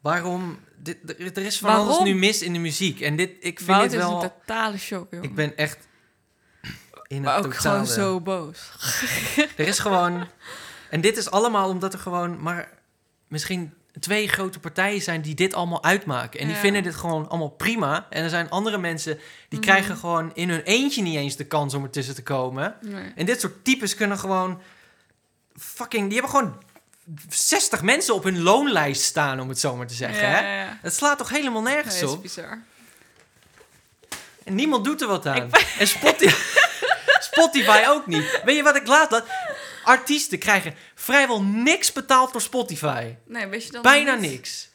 Speaker 1: Waarom... Dit, er, er is van
Speaker 2: Waarom?
Speaker 1: alles nu mis in de muziek. En dit, ik vind
Speaker 2: Wout
Speaker 1: het
Speaker 2: is
Speaker 1: wel...
Speaker 2: een totale shock, joh.
Speaker 1: Ik ben echt... In
Speaker 2: maar
Speaker 1: het
Speaker 2: ook
Speaker 1: totale.
Speaker 2: gewoon zo boos.
Speaker 1: Er is gewoon... En dit is allemaal omdat er gewoon maar misschien twee grote partijen zijn die dit allemaal uitmaken. En die
Speaker 2: Ja.
Speaker 1: vinden dit gewoon allemaal prima. En er zijn andere mensen die
Speaker 2: Mhm.
Speaker 1: krijgen gewoon in hun eentje niet eens de kans om ertussen te komen.
Speaker 2: Nee.
Speaker 1: En dit soort types kunnen gewoon fucking... Die hebben gewoon 60 mensen op hun loonlijst staan, om het zo maar te zeggen.
Speaker 2: Ja,
Speaker 1: hè?
Speaker 2: ja, ja.
Speaker 1: Het slaat toch helemaal
Speaker 2: Nee,
Speaker 1: nergens
Speaker 2: dat is
Speaker 1: op?
Speaker 2: bizar.
Speaker 1: En niemand doet er wat aan. En Spotify, Spotify ook niet. Weet je wat ik laat? Dat artiesten krijgen vrijwel niks betaald door Spotify.
Speaker 2: Nee, wist je dat?
Speaker 1: Bijna
Speaker 2: niet?
Speaker 1: niks.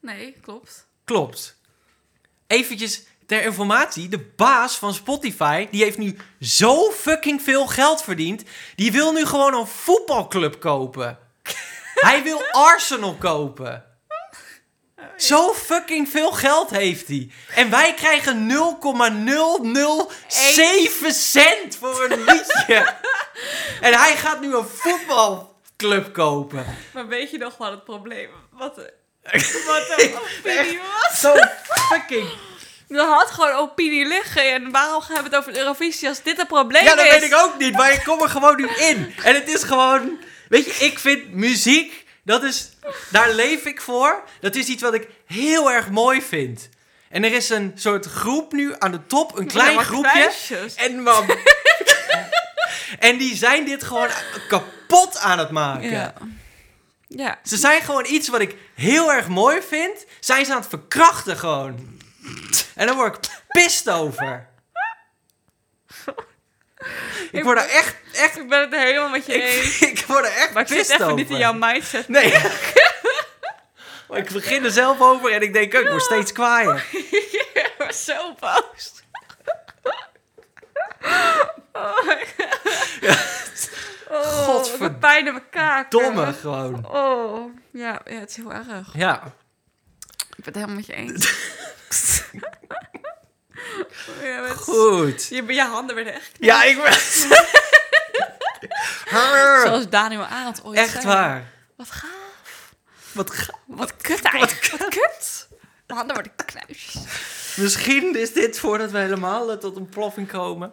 Speaker 2: Nee, klopt.
Speaker 1: Klopt. Eventjes ter informatie. De baas van Spotify, die heeft nu zo fucking veel geld verdiend. Die wil nu gewoon een voetbalclub kopen. hij wil Arsenal kopen. Zo fucking veel geld heeft hij. En wij krijgen 0,007 cent voor een liedje. en hij gaat nu een voetbalclub kopen.
Speaker 2: Maar weet je nog wel het probleem? Wat een, wat een opinie was.
Speaker 1: Zo fucking
Speaker 2: Er had gewoon opinie liggen. En waarom hebben we het over de Eurovisie als dit een probleem
Speaker 1: ja, dat
Speaker 2: is?
Speaker 1: weet ik ook niet, maar ik kom er gewoon nu in. En het is gewoon... Weet je, ik vind muziek, dat is, daar leef ik voor. Dat is iets wat ik heel erg mooi vind. En er is een soort groep nu aan de top, een klein groepje. En man. en die zijn dit gewoon kapot aan het maken.
Speaker 2: Ja. ja.
Speaker 1: Ze zijn gewoon iets wat ik heel erg mooi vind. Zijn ze aan het verkrachten gewoon. En daar word ik pist over. Ik word er echt, echt
Speaker 2: Ik ben het helemaal met je eens.
Speaker 1: ik, ik word er echt
Speaker 2: Maar ik zit
Speaker 1: pist
Speaker 2: even
Speaker 1: over.
Speaker 2: niet in jouw mindset.
Speaker 1: Nee. maar ik begin er zelf over en ik denk, oh, ik word steeds kwaaier.
Speaker 2: Ik ben zo boos. Oh, my oh
Speaker 1: Godverdomme.
Speaker 2: wat pijn in mijn kaak.
Speaker 1: Domme gewoon.
Speaker 2: Oh, ja, ja, het is heel erg.
Speaker 1: Ja.
Speaker 2: Ik ben het helemaal met je eens. ja, maar het is-
Speaker 1: Goed.
Speaker 2: Je, je handen werden echt...
Speaker 1: Ja, ik ben... Haar.
Speaker 2: Zoals Daniel Arendt ooit
Speaker 1: Echt
Speaker 2: zei.
Speaker 1: waar.
Speaker 2: Wat gaaf.
Speaker 1: Wat ga-
Speaker 2: Wat kut eigenlijk. Wat kut. Mijn handen worden knuisjes.
Speaker 1: Misschien is dit voordat we helemaal eh, tot een ploffing komen.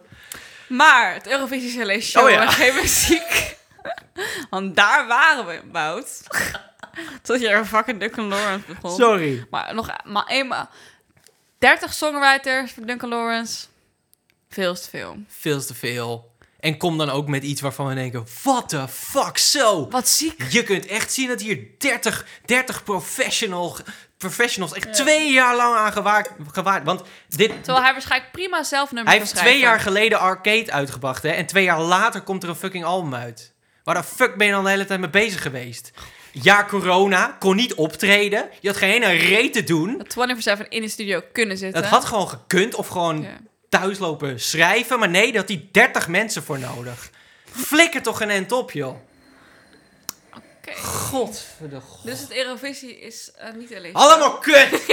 Speaker 2: Maar het Eurovisie Chalet Show
Speaker 1: Oh ja.
Speaker 2: en geen muziek. Want daar waren we, Wout. Tot je er fucking Duncan Lawrence begon.
Speaker 1: Sorry.
Speaker 2: Maar nog maar eenmaal. 30 songwriters voor Duncan Lawrence. Veel is te veel.
Speaker 1: Veel te veel. En kom dan ook met iets waarvan we denken, what the fuck, zo.
Speaker 2: Wat ziek.
Speaker 1: Je kunt echt zien dat hier 30, 30 professional, professionals echt twee jaar lang aan gewaard... gewaard want dit,
Speaker 2: Terwijl hij waarschijnlijk prima zelf nummers
Speaker 1: hij
Speaker 2: kan
Speaker 1: heeft twee
Speaker 2: schrijven.
Speaker 1: jaar geleden Arcade uitgebracht, hè. En twee jaar later komt er een fucking album uit. Waar de fuck ben je dan de hele tijd mee bezig geweest? Ja, corona, kon niet optreden. Je had geen ene reet te doen.
Speaker 2: Dat 24-7 in de studio kunnen zitten.
Speaker 1: Het had gewoon gekund of gewoon
Speaker 2: Ja.
Speaker 1: thuis lopen schrijven. Maar nee, daar had hij 30 mensen voor nodig. Flikker toch een end op, joh.
Speaker 2: Oké.
Speaker 1: God, de god.
Speaker 2: Dus het Eurovisie is eh, niet alleen...
Speaker 1: Allemaal kut!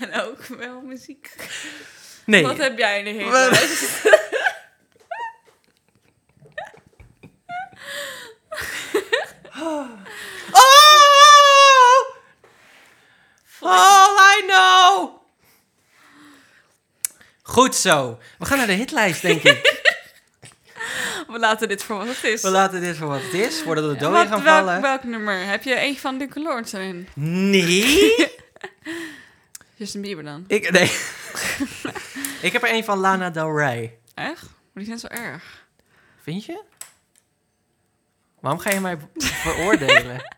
Speaker 2: En ook wel muziek.
Speaker 1: Nee.
Speaker 2: Wat heb jij in de hele
Speaker 1: Wat-
Speaker 2: lijst?
Speaker 1: Oh! All Oh, I know! Goed zo. We gaan naar de hitlijst, denk ik.
Speaker 2: We laten dit voor wat het is.
Speaker 1: We laten dit voor wat het is, voordat we
Speaker 2: Ja,
Speaker 1: dood
Speaker 2: wat-
Speaker 1: gaan
Speaker 2: welk,
Speaker 1: vallen.
Speaker 2: welk nummer? Heb je eentje van Duncan Lawrence erin?
Speaker 1: Nee?
Speaker 2: Justin Bieber dan.
Speaker 1: Ik, nee. ik heb er een van Lana Del Rey.
Speaker 2: Echt? Maar die zijn zo erg.
Speaker 1: Vind je? Waarom ga je mij veroordelen?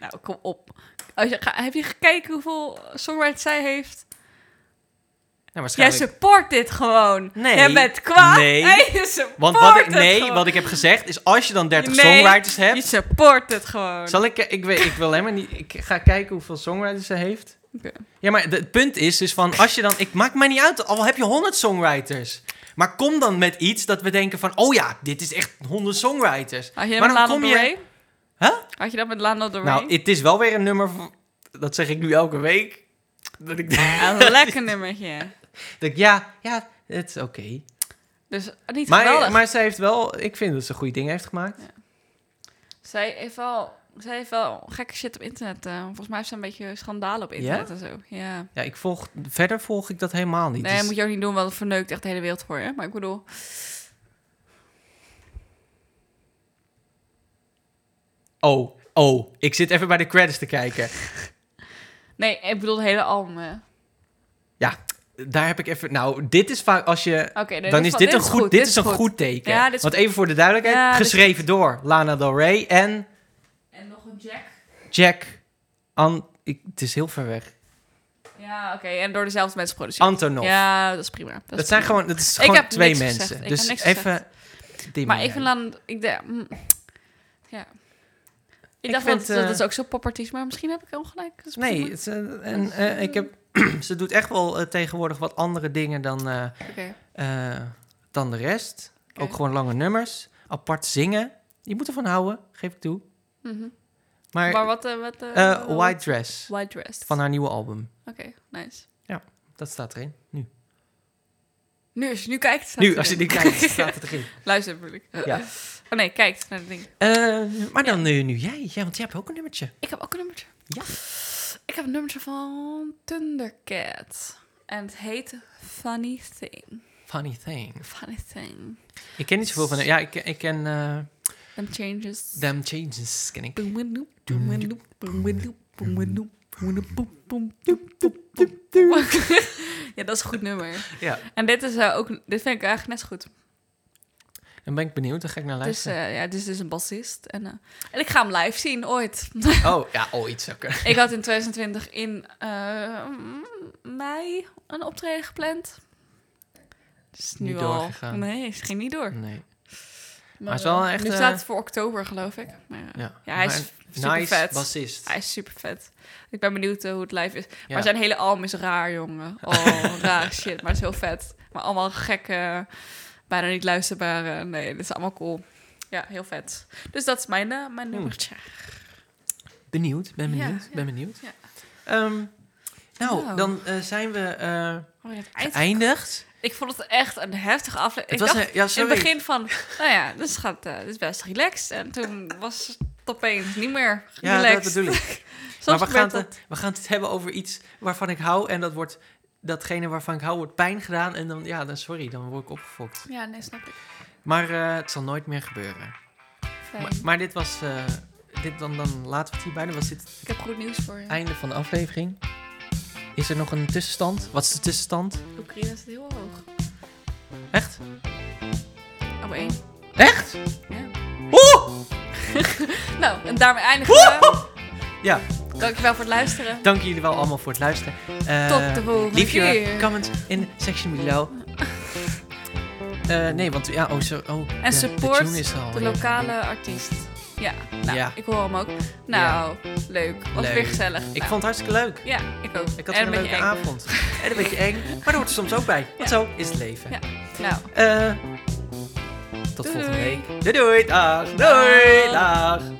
Speaker 2: Nou, kom op. Als je, ga- heb je gekeken hoeveel songwriters zij heeft?
Speaker 1: Ja,
Speaker 2: Jij
Speaker 1: waarschijnlijk.
Speaker 2: support dit gewoon.
Speaker 1: Nee.
Speaker 2: Jij bent kwaad.
Speaker 1: Nee.
Speaker 2: En je support
Speaker 1: Want wat ik,
Speaker 2: het
Speaker 1: nee,
Speaker 2: gewoon.
Speaker 1: wat ik heb gezegd is als je dan 30
Speaker 2: Nee,
Speaker 1: songwriters
Speaker 2: Je
Speaker 1: hebt...
Speaker 2: support het gewoon.
Speaker 1: Zal ik... eh, Ik, weet, ik wil helemaal niet... Ik ga kijken hoeveel songwriters ze heeft.
Speaker 2: Oké.
Speaker 1: Ja, maar de- het punt is dus van als je dan... Ik maak mij niet uit, al heb je 100 songwriters. Maar kom dan met iets dat we denken van... Oh ja, dit is echt 100 songwriters.
Speaker 2: Had je
Speaker 1: Maar
Speaker 2: dat met
Speaker 1: dan
Speaker 2: Lana
Speaker 1: kom
Speaker 2: Del
Speaker 1: je-
Speaker 2: Rey?
Speaker 1: Huh?
Speaker 2: Had je dat met Lana Del Rey?
Speaker 1: Nou, het is wel weer een nummer... voor- Dat zeg ik nu elke week. Dat ik denk...
Speaker 2: Een lekker nummertje.
Speaker 1: dat ik, ja, ja, het is oké.
Speaker 2: Dus eh, niet
Speaker 1: Maar,
Speaker 2: geweldig.
Speaker 1: maar ze heeft wel... Ik vind dat ze goede dingen heeft gemaakt.
Speaker 2: Zij heeft wel, zij heeft wel gekke shit op internet. eh. volgens mij heeft ze een beetje schandalen op internet en zo. Ja.
Speaker 1: Ja, ik volg... Verder volg ik dat helemaal niet.
Speaker 2: Nee,
Speaker 1: Dus-
Speaker 2: moet je ook niet doen, want het verneukt echt de hele wereld voor je. Maar ik bedoel,
Speaker 1: Oh, oh. Ik zit even bij de credits te kijken.
Speaker 2: nee, ik bedoel het hele eh. album. hè.
Speaker 1: Daar heb ik even... Nou, dit is vaak als je...
Speaker 2: Oké, nee,
Speaker 1: dan is
Speaker 2: wel-
Speaker 1: dit, een goed, dit is een goed, teken.
Speaker 2: Ja, dit is
Speaker 1: Want
Speaker 2: goed.
Speaker 1: even voor de duidelijkheid,
Speaker 2: Ja, dit is
Speaker 1: geschreven door Lana Del Rey en
Speaker 2: En nog een Jack.
Speaker 1: Jack... An ik, het is heel ver weg.
Speaker 2: Ja, oké, en door dezelfde mensen geproduceerd.
Speaker 1: Antonov.
Speaker 2: Ja, dat is prima. Dat, is
Speaker 1: dat, zijn
Speaker 2: prima.
Speaker 1: gewoon, dat is gewoon
Speaker 2: heb
Speaker 1: twee
Speaker 2: niks
Speaker 1: mensen.
Speaker 2: gezegd. Ik
Speaker 1: Dus
Speaker 2: heb niks
Speaker 1: even... die
Speaker 2: Maar
Speaker 1: man
Speaker 2: ik vind
Speaker 1: uit.
Speaker 2: dan, ik denk, mm, ja. Ik,
Speaker 1: Ik
Speaker 2: dacht
Speaker 1: vind,
Speaker 2: dat, dat
Speaker 1: eh,
Speaker 2: is ook zo popartiest, maar misschien heb ik ongelijk. Dat is
Speaker 1: Nee,
Speaker 2: prima.
Speaker 1: het, is, eh, en, eh, ik heb, ze doet echt wel eh, tegenwoordig wat andere dingen dan... eh,
Speaker 2: Oké.
Speaker 1: eh, dan de rest.
Speaker 2: Oké.
Speaker 1: Ook gewoon lange nummers. Apart zingen. Je moet ervan houden, geef ik toe.
Speaker 2: Mhm.
Speaker 1: Maar,
Speaker 2: Maar wat... eh, wat eh,
Speaker 1: eh,
Speaker 2: wat-
Speaker 1: White Dress
Speaker 2: White Dress.
Speaker 1: van haar nieuwe album.
Speaker 2: Oké, nice.
Speaker 1: Dat staat erin. Nu,
Speaker 2: Nu, als je nu kijkt, staat
Speaker 1: nu
Speaker 2: het
Speaker 1: als je
Speaker 2: erin.
Speaker 1: dit kijkt, staat het erin.
Speaker 2: Luister, bedoel ik.
Speaker 1: Ja.
Speaker 2: Oh nee, kijkt naar het ding.
Speaker 1: Eh, maar dan eh, nu jij. Ja, want jij hebt ook een nummertje.
Speaker 2: Ik heb ook een nummertje.
Speaker 1: Ja.
Speaker 2: Ik heb een nummertje van Thundercat. En het heet Funny Thing.
Speaker 1: Funny Thing.
Speaker 2: Funny Thing.
Speaker 1: Ik ken niet zoveel van... Ja, ik, ken- ik ken eh
Speaker 2: Them changes.
Speaker 1: Them Changes, ken ik.
Speaker 2: Boom, boom, doop, boom, boom, doop, boom, boom, doop, boom, boom, doop, boom, doop, boom, boom, doop, boop, boop, boop. Ja, dat is een goed nummer.
Speaker 1: Ja,
Speaker 2: En dit is eh, ook... Dit vind ik eigenlijk net zo goed.
Speaker 1: dan ben ik benieuwd. Dan ga ik naar
Speaker 2: Dus
Speaker 1: luisteren.
Speaker 2: eh, ja, dit is dus een bassist. En, eh, en ik ga hem live zien, ooit.
Speaker 1: Oh, ja, oh, iets zou kunnen.
Speaker 2: Ik had in 2020 in eh, mm, mei een optreden gepland. Is nu
Speaker 1: Niet
Speaker 2: al.
Speaker 1: doorgegaan.
Speaker 2: Nee, is ging niet door.
Speaker 1: Nee.
Speaker 2: Maar,
Speaker 1: is wel
Speaker 2: eh,
Speaker 1: echt,
Speaker 2: Nu
Speaker 1: eh,
Speaker 2: staat het voor oktober, geloof ik. Maar, eh,
Speaker 1: Ja,
Speaker 2: Ja, hij is
Speaker 1: Maar een
Speaker 2: super
Speaker 1: nice
Speaker 2: vet.
Speaker 1: bassist.
Speaker 2: Hij is super vet. Ik ben benieuwd eh, hoe het live is.
Speaker 1: Ja.
Speaker 2: Maar zijn hele album is raar, jongen. Oh, raar shit. Maar het is heel vet. Maar allemaal gekke, bijna niet luisterbare. Nee, dit is allemaal cool. Ja, heel vet. Dus dat is mijn, eh, mijn
Speaker 1: Hmm.
Speaker 2: nummertje.
Speaker 1: Benieuwd, ben
Speaker 2: Ja,
Speaker 1: benieuwd,
Speaker 2: ja,
Speaker 1: ben benieuwd.
Speaker 2: ja.
Speaker 1: Ehm, nou,
Speaker 2: Nou.
Speaker 1: dan eh, zijn we eh
Speaker 2: Oh, het eind.
Speaker 1: geëindigd.
Speaker 2: Ik vond het echt een heftige aflevering.
Speaker 1: Het
Speaker 2: Ik dacht-
Speaker 1: was een, ja, sorry.
Speaker 2: Dus In het begin van, nou ja, dus gaat, eh, dit is best relaxed. En toen was het opeens niet meer
Speaker 1: ja,
Speaker 2: relaxed.
Speaker 1: dat bedoel ik.
Speaker 2: Soms
Speaker 1: maar we gaan,
Speaker 2: gebeurt
Speaker 1: het, eh, we gaan het hebben over iets waarvan ik hou. En dat wordt, datgene waarvan ik hou, wordt pijn gedaan. En dan, ja, dan sorry, dan word ik opgefokt.
Speaker 2: Ja, nee, snap ik.
Speaker 1: Maar eh, het zal nooit meer gebeuren.
Speaker 2: Fijn.
Speaker 1: Maar, maar dit was, eh, dit, dan, dan laten we het hierbij. Dan was dit
Speaker 2: ik heb goed nieuws voor je.
Speaker 1: het einde van de aflevering. Is er nog een tussenstand? Wat is de tussenstand?
Speaker 2: Oekraïne zit heel hoog.
Speaker 1: Echt?
Speaker 2: Op Oh, één.
Speaker 1: Echt?
Speaker 2: Ja.
Speaker 1: Oeh!
Speaker 2: Nou, en daarmee eindigen we.
Speaker 1: Ja.
Speaker 2: Dankjewel voor het luisteren.
Speaker 1: Dank jullie wel allemaal voor het luisteren. Eh,
Speaker 2: Tot de volgende
Speaker 1: leave your
Speaker 2: keer.
Speaker 1: comments in the section below. Eh, nee, want ja, oh, zo, oh de-
Speaker 2: support
Speaker 1: de, tune is er al
Speaker 2: De
Speaker 1: in.
Speaker 2: lokale artiest. Ja, nou,
Speaker 1: Ja.
Speaker 2: ik hoor hem ook. Nou, leuk. Was
Speaker 1: Leuk.
Speaker 2: weer gezellig.
Speaker 1: Ik
Speaker 2: Nou,
Speaker 1: vond het hartstikke leuk.
Speaker 2: Ja, ik ook.
Speaker 1: Ik had
Speaker 2: En
Speaker 1: weer een leuke
Speaker 2: beetje eng.
Speaker 1: avond. En een beetje eng, maar daar hoort er soms ook bij. Want zo is het leven.
Speaker 2: Ja. Nou,
Speaker 1: Eh, tot
Speaker 2: Doei.
Speaker 1: volgende week. Doei doei, dag. Doei,
Speaker 2: Dag.
Speaker 1: dag.